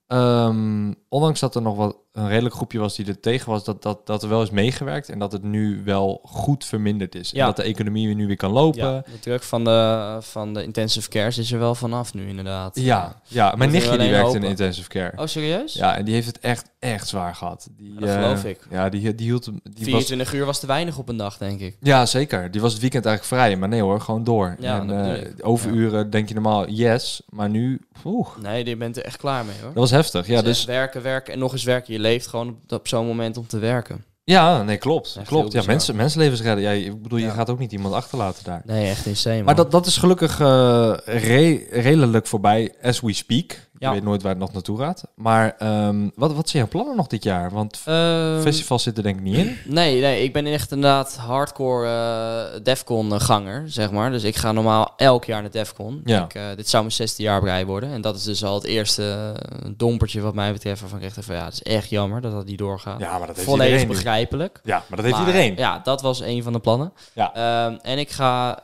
Speaker 1: ehm, ondanks dat er nog wat een redelijk groepje was die er tegen was, dat, dat, dat er wel is meegewerkt en dat het nu wel goed verminderd is. En
Speaker 2: Ja.
Speaker 1: dat de economie weer nu weer kan lopen.
Speaker 2: Ja,
Speaker 1: Ja,
Speaker 2: de druk van de, van de intensive cares is er wel vanaf nu, inderdaad.
Speaker 1: ja, mijn
Speaker 2: Moeten we
Speaker 1: nichtje die
Speaker 2: alleen
Speaker 1: werkt in
Speaker 2: hopen.
Speaker 1: intensive care.
Speaker 2: Oh, serieus?
Speaker 1: Ja, en die heeft het echt, echt zwaar gehad. Die,
Speaker 2: Dat geloof
Speaker 1: eh,
Speaker 2: ik.
Speaker 1: Ja, die, die hield hem... Die was,
Speaker 2: 24 uur was te weinig op een dag, denk ik.
Speaker 1: Ja, zeker. Die was het weekend eigenlijk vrij. Maar nee hoor, gewoon door.
Speaker 2: Ja,
Speaker 1: en
Speaker 2: dat bedoel
Speaker 1: eh,
Speaker 2: ik.
Speaker 1: overuren denk je normaal yes. Maar nu, oeh,
Speaker 2: Nee, je bent er echt klaar mee, hoor.
Speaker 1: dat was heftig. Ja,
Speaker 2: Het is
Speaker 1: dus,
Speaker 2: echt werken, werken en nog eens werken. Je leeft gewoon op, op zo'n moment om te werken.
Speaker 1: ja nee, klopt.
Speaker 2: Echt heel
Speaker 1: Klopt. Ja,
Speaker 2: bizar.
Speaker 1: mensen, mensenlevens redden. Ja, ik bedoel, je
Speaker 2: Ja.
Speaker 1: gaat ook niet iemand achterlaten daar.
Speaker 2: Nee, echt insane, man.
Speaker 1: Maar dat, dat is gelukkig eh, re- redelijk voorbij as we speak. Je
Speaker 2: Ja.
Speaker 1: weet nooit waar het nog naartoe gaat. Maar ehm, wat, wat zijn jouw plannen nog dit jaar? Want
Speaker 2: Ehm,
Speaker 1: festivals zitten denk ik niet in.
Speaker 2: Nee, nee, ik ben echt inderdaad hardcore eh, Defcon-ganger, zeg maar. Dus ik ga normaal elk jaar naar Defcon.
Speaker 1: Ja.
Speaker 2: Ik, eh, dit zou mijn zesde jaar brei worden. En dat is dus al het eerste eh, dompertje wat mij betreft waarvan ik echt even... Ja, het is echt jammer dat dat niet doorgaat.
Speaker 1: Ja, maar dat heeft
Speaker 2: Volledig
Speaker 1: iedereen. nu.
Speaker 2: begrijpelijk.
Speaker 1: Ja, maar dat heeft
Speaker 2: Maar,
Speaker 1: iedereen.
Speaker 2: Ja, dat was een van de plannen.
Speaker 1: Ja.
Speaker 2: Ehm, en ik ga,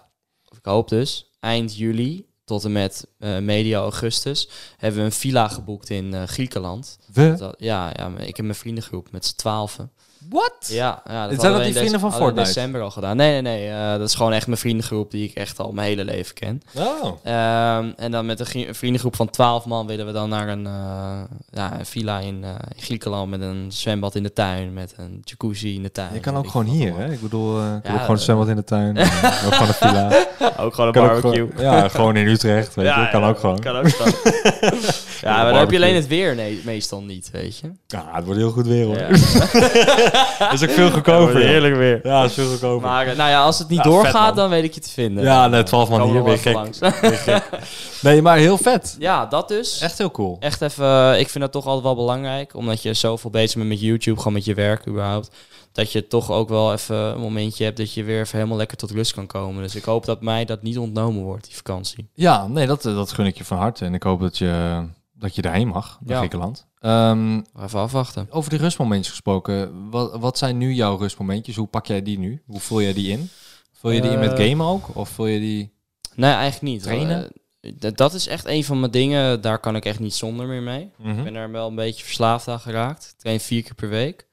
Speaker 2: of ik hoop dus, eind juli tot en met eh, medio augustus... hebben we een villa geboekt in eh, Griekenland.
Speaker 1: We.
Speaker 2: Dat- ja, ja, maar ik heb mijn vriendengroep met z'n twaalven.
Speaker 1: What?
Speaker 2: Ja, ja
Speaker 1: Zijn dat
Speaker 2: hadden we
Speaker 1: die
Speaker 2: in dec-
Speaker 1: vrienden van
Speaker 2: hadden we in
Speaker 1: Fortnite?
Speaker 2: december al gedaan. Nee, nee, nee. eh, dat is gewoon echt mijn vriendengroep die ik echt al mijn hele leven ken.
Speaker 1: Oh.
Speaker 2: Ehm, en dan met een grie- een vriendengroep van 12 man willen we dan naar een, eh, ja, een villa in eh, in Griekenland met een zwembad in de tuin, met een jacuzzi in de tuin.
Speaker 1: Je kan
Speaker 2: Weet
Speaker 1: ook
Speaker 2: ik
Speaker 1: gewoon
Speaker 2: wat
Speaker 1: hier,
Speaker 2: allemaal.
Speaker 1: hè? Ik bedoel, eh, ik wil
Speaker 2: Ja,
Speaker 1: ook gewoon een
Speaker 2: eh,
Speaker 1: zwembad in de tuin. en, eh, ook gewoon een villa. Kan
Speaker 2: Ook gewoon een
Speaker 1: ook
Speaker 2: barbecue.
Speaker 1: gewoon- ja, gewoon in Utrecht, weet je. Kan
Speaker 2: ja,
Speaker 1: ook gewoon.
Speaker 2: Kan ook gewoon. ja, maar dan heb
Speaker 1: barbecue.
Speaker 2: je alleen het weer nee, meestal niet, weet je.
Speaker 1: Ja, het wordt heel goed weer, hoor.
Speaker 2: Ja.
Speaker 1: Dat is ook veel goedkoper. joh.
Speaker 2: Heerlijk weer.
Speaker 1: Ja, dat is veel goedkoper.
Speaker 2: Maar eh, nou ja, als het niet
Speaker 1: Ja, vet, man.
Speaker 2: doorgaat, dan weet ik je te vinden.
Speaker 1: ja, nee, 12 man
Speaker 2: Komen
Speaker 1: hier
Speaker 2: we
Speaker 1: weer
Speaker 2: wel
Speaker 1: gek.
Speaker 2: even langs.
Speaker 1: weer gek. Nee, maar heel vet.
Speaker 2: ja, dat dus.
Speaker 1: Echt heel cool.
Speaker 2: Echt even, eh, ik vind dat toch altijd wel belangrijk, omdat je zoveel bezig bent met YouTube, gewoon met je werk überhaupt, dat je toch ook wel even een momentje hebt dat je weer even helemaal lekker tot rust kan komen. Dus ik hoop dat mij dat niet ontnomen wordt, die vakantie.
Speaker 1: Ja, nee, dat, eh, dat gun ik je van harte. En ik hoop dat je, dat je daarheen mag, naar
Speaker 2: Ja.
Speaker 1: Griekenland. Ehm,
Speaker 2: Even afwachten.
Speaker 1: over die rustmomentjes gesproken. Wat, wat zijn nu jouw rustmomentjes? Hoe pak jij die nu? Hoe vul jij die in? Vul je die in met
Speaker 2: Eh,
Speaker 1: gamen ook? Of vul je die...
Speaker 2: Nee, eigenlijk niet.
Speaker 1: Trainen?
Speaker 2: Eh, d- dat is echt een van mijn dingen, daar kan ik echt niet zonder meer mee.
Speaker 1: Hm? Mhm.
Speaker 2: Ik ben er wel een beetje verslaafd aan geraakt. Ik train vier keer per week.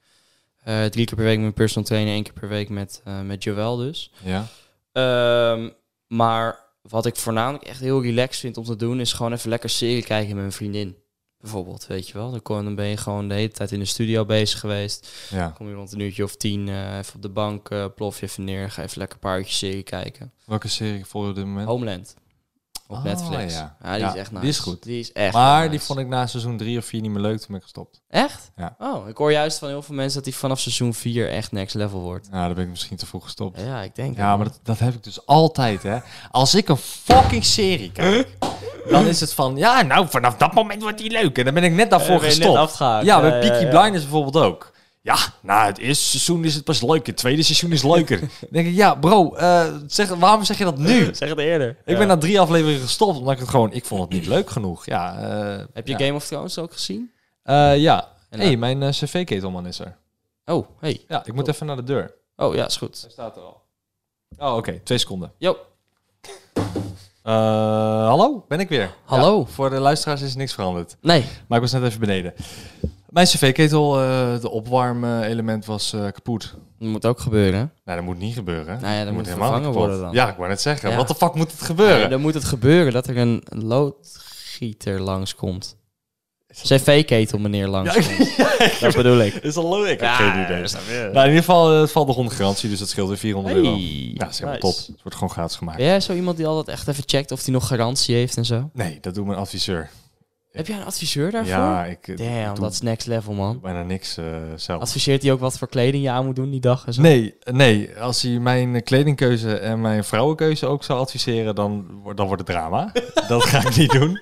Speaker 2: Eh, drie keer per week met mijn personal trainer, één keer per week met, eh met Joël dus.
Speaker 1: Ja.
Speaker 2: Ehm, maar wat ik voornamelijk echt heel relaxed vind om te doen, is gewoon even lekker serie kijken met mijn vriendin. Bijvoorbeeld, weet je wel. Dan, kon, dan ben je gewoon de hele tijd in de studio bezig geweest.
Speaker 1: ja.
Speaker 2: Kom je rond een uurtje of tien eh, even op de bank, eh, plof je even neer, ga even lekker een paar uurtjes serie kijken.
Speaker 1: Welke serie volg je op dit moment?
Speaker 2: Homeland. Op
Speaker 1: Oh,
Speaker 2: Netflix.
Speaker 1: ja.
Speaker 2: Ja. die
Speaker 1: Ja,
Speaker 2: is echt
Speaker 1: die
Speaker 2: nice.
Speaker 1: is goed.
Speaker 2: Die is echt
Speaker 1: maar
Speaker 2: heel
Speaker 1: die
Speaker 2: nice.
Speaker 1: vond ik na seizoen 3 of 4 niet meer leuk, toen ben ik gestopt.
Speaker 2: Echt?
Speaker 1: Ja.
Speaker 2: Oh, ik hoor juist van heel veel mensen dat die vanaf seizoen 4 echt next level wordt.
Speaker 1: Nou, daar ben ik misschien te vroeg gestopt.
Speaker 2: Ja, ik denk
Speaker 1: Ja, maar dat, dat heb ik dus altijd, hè. Als ik een fucking serie kijk, dan is het van... Ja, nou, vanaf dat moment wordt die leuk. En dan Eh, ben ik net daarvoor gestopt.
Speaker 2: afgehaakt.
Speaker 1: Ja, bij Peaky Blinders bijvoorbeeld ook. Ja, na het eerste seizoen is het pas leuk. Het tweede seizoen is leuker. Dan denk ik, ja, bro, eh, zeg, waarom zeg je dat nu?
Speaker 2: Zeg het eerder.
Speaker 1: Ik ben na drie afleveringen gestopt, omdat ik het gewoon... Ik vond het niet leuk genoeg. Ja, eh,
Speaker 2: Heb je
Speaker 1: ja.
Speaker 2: Game of Thrones ook gezien?
Speaker 1: Eh, ja.
Speaker 2: En
Speaker 1: hey, mijn eh, cv-ketelman is er.
Speaker 2: Oh, hey.
Speaker 1: Ja, ik moet even naar de deur.
Speaker 2: Oh ja, is goed.
Speaker 1: Hij staat er al. Oh, oké. Twee seconden.
Speaker 2: Jo,
Speaker 1: Eh, hallo, ben ik weer.
Speaker 2: Hallo.
Speaker 1: Ja, voor de luisteraars is niks veranderd.
Speaker 2: nee.
Speaker 1: Maar ik was net even beneden. Mijn cv-ketel, eh de opwarm-element was eh, kapot.
Speaker 2: Dat moet ook gebeuren.
Speaker 1: Nou, dat moet niet gebeuren.
Speaker 2: Nou ja, dat
Speaker 1: Die
Speaker 2: moet
Speaker 1: helemaal
Speaker 2: vervangen
Speaker 1: niet kapot.
Speaker 2: worden dan.
Speaker 1: Ja, ik wou net zeggen.
Speaker 2: Ja.
Speaker 1: Wat de fuck moet het gebeuren?
Speaker 2: dan moet het gebeuren dat er een loodgieter langskomt. CV-ketel meneer langskomt. dat bedoel ik.
Speaker 1: is al leuk. Ik heb
Speaker 2: Ja,
Speaker 1: geen idee. Nou, in ieder geval, eh, het valt nog onder garantie, dus dat scheelt weer 400 euro. Ja, dat is helemaal top. Het wordt gewoon gratis gemaakt.
Speaker 2: Ben jij zo iemand die altijd echt even checkt of hij nog garantie heeft en zo?
Speaker 1: Nee, dat doet mijn adviseur.
Speaker 2: Heb jij een adviseur daarvoor?
Speaker 1: Ja, ik eh,
Speaker 2: Damn,
Speaker 1: doe
Speaker 2: dat is next level, man.
Speaker 1: bijna niks eh, zelf.
Speaker 2: Adviseert hij ook wat voor kleding je aan moet doen die dag en zo?
Speaker 1: Nee, nee, als hij mijn kledingkeuze en mijn vrouwenkeuze ook zou adviseren, dan, wordt- dan wordt het drama. dat ga ik niet doen.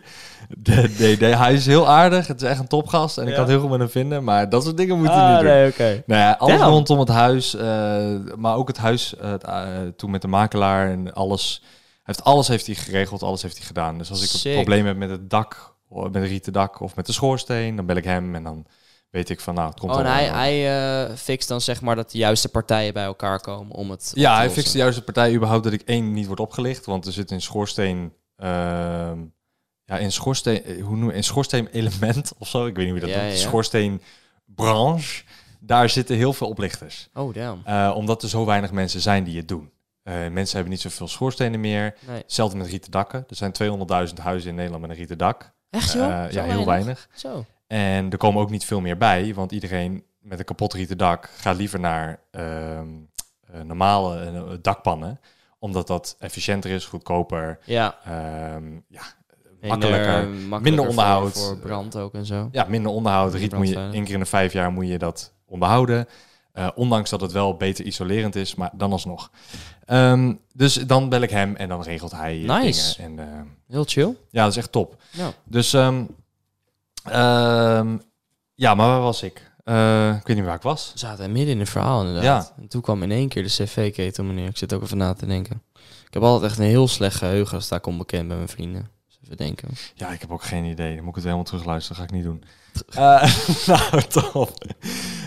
Speaker 1: De, nee, nee, hij is heel aardig, het is echt een topgast en ik
Speaker 2: Ja.
Speaker 1: kan het heel goed met hem vinden, maar dat soort dingen moet hij
Speaker 2: ah,
Speaker 1: niet doen.
Speaker 2: nee, oké.
Speaker 1: Nou ja, alles
Speaker 2: Damn.
Speaker 1: rondom het huis, eh, maar ook het huis eh, het, eh, toen met de makelaar en alles. Hij heeft, alles heeft hij geregeld, alles heeft hij gedaan. Dus als ik een
Speaker 2: Sick.
Speaker 1: probleem heb met het dak, of met het rieten dak of met de schoorsteen, dan bel ik hem en dan weet ik van nou, het komt
Speaker 2: Oh, en
Speaker 1: allemaal
Speaker 2: hij,
Speaker 1: wel.
Speaker 2: hij eh, fixt dan zeg maar dat de juiste partijen bij elkaar komen om het op
Speaker 1: Ja,
Speaker 2: te
Speaker 1: hij
Speaker 2: lossen.
Speaker 1: fixt de juiste partij überhaupt dat ik één niet word opgelicht. Want er zit in schoorsteen... ehm, ja, in schoorsteen... eh, Hoe noem je In schoorsteen element of zo. Ik weet niet hoe je dat
Speaker 2: Ja,
Speaker 1: noemt.
Speaker 2: ja.
Speaker 1: Schoorsteen branche. Daar zitten heel veel oplichters.
Speaker 2: Oh, damn.
Speaker 1: Eh, omdat er zo weinig mensen zijn die het doen. Eh, mensen hebben niet zoveel schoorstenen meer.
Speaker 2: Nee.
Speaker 1: Hetzelfde met rieten dakken. Er zijn 200.000 huizen in Nederland met een rieten dak.
Speaker 2: Echt
Speaker 1: Eh,
Speaker 2: joh?
Speaker 1: ja,
Speaker 2: Zo
Speaker 1: heel weinig.
Speaker 2: Zo.
Speaker 1: En er komen ook niet veel meer bij. Want iedereen met een kapot rieten dak gaat liever naar ehm, eh, normale eh, dakpannen. Omdat dat efficiënter is, goedkoper,
Speaker 2: Ja.
Speaker 1: ehm, ja,
Speaker 2: En,
Speaker 1: makkelijker.
Speaker 2: eh, makkelijker
Speaker 1: Minder
Speaker 2: voor-
Speaker 1: onderhoud.
Speaker 2: Voor, brand ook en zo.
Speaker 1: Ja, minder onderhoud.
Speaker 2: Minder
Speaker 1: Riet moet je
Speaker 2: brandveilig.
Speaker 1: één keer in de vijf jaar moet je dat onderhouden. Eh, ondanks dat het wel beter isolerend is, maar dan alsnog. Ehm, dus dan bel ik hem en dan regelt hij eh,
Speaker 2: Nice.
Speaker 1: dingen. En, eh,
Speaker 2: Heel chill.
Speaker 1: ja, dat is echt top.
Speaker 2: Ja.
Speaker 1: Dus ehm, ehm, ja, maar waar was ik? Eh, ik weet niet waar ik was.
Speaker 2: We zaten midden in het verhaal inderdaad. En toen kwam in één keer de cv-ketel meneer. Ik zit ook even na te denken. Ik heb altijd echt een heel slecht geheugen als daar kom bekend bij mijn vrienden. Dus even denken.
Speaker 1: Ja, ik heb ook geen idee. Dan moet ik het helemaal terugluisteren. ga ik niet doen. Eh, nou, top.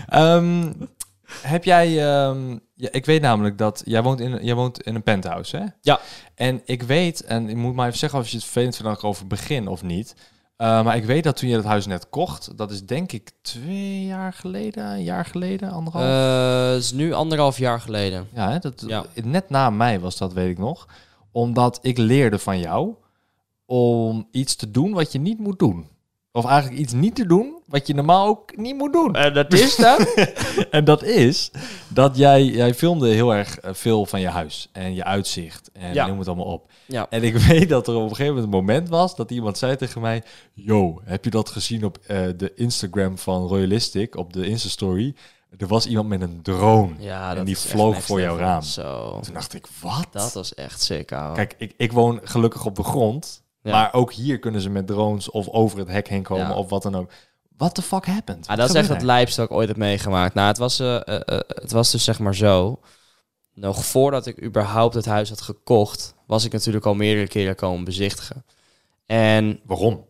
Speaker 1: Ehm, heb jij... ehm, ja, ik weet namelijk dat... Jij woont, in, jij woont in een penthouse, hè?
Speaker 2: Ja.
Speaker 1: En ik weet... En ik moet maar even zeggen of je het vervelend vindt dat ik over begin of niet. Eh, maar ik weet dat toen je dat huis net kocht... Dat is denk ik twee jaar geleden, een jaar geleden, anderhalf.
Speaker 2: Eh, Het is nu anderhalf jaar geleden.
Speaker 1: Ja, hè, dat,
Speaker 2: Ja.
Speaker 1: net na mij was dat, weet ik nog. Omdat ik leerde van jou om iets te doen wat je niet moet doen. Of eigenlijk iets niet te doen wat je normaal ook niet moet doen.
Speaker 2: Eh, dat is dat?
Speaker 1: En dat is dat jij, jij filmde heel erg eh, veel van je huis en je uitzicht en
Speaker 2: Ja.
Speaker 1: noem het allemaal op.
Speaker 2: ja.
Speaker 1: En ik weet dat er op een gegeven moment een moment was dat iemand zei tegen mij: Yo, heb je dat gezien op eh, de Instagram van Royalistic, op de Insta-story? Er was iemand met een drone.
Speaker 2: Ja,
Speaker 1: en
Speaker 2: dat
Speaker 1: die
Speaker 2: is echt
Speaker 1: vloog
Speaker 2: next
Speaker 1: voor jouw
Speaker 2: level.
Speaker 1: raam.
Speaker 2: Zo,
Speaker 1: Toen dacht ik, wat?
Speaker 2: dat was echt sick, ouwe.
Speaker 1: Kijk, ik, ik woon gelukkig op de grond.
Speaker 2: Ja.
Speaker 1: Maar ook hier kunnen ze met drones of over het hek heen komen
Speaker 2: Ja.
Speaker 1: of wat dan ook. What the fuck happened?
Speaker 2: Ah,
Speaker 1: Wat
Speaker 2: dat is echt
Speaker 1: gebeurde
Speaker 2: het lijpste dat ik ooit heb meegemaakt. Nou, het was, eh, eh, eh, het was dus zeg maar zo. Nog voordat ik überhaupt het huis had gekocht, was ik natuurlijk al meerdere keren komen bezichtigen. En
Speaker 1: er? Waarom?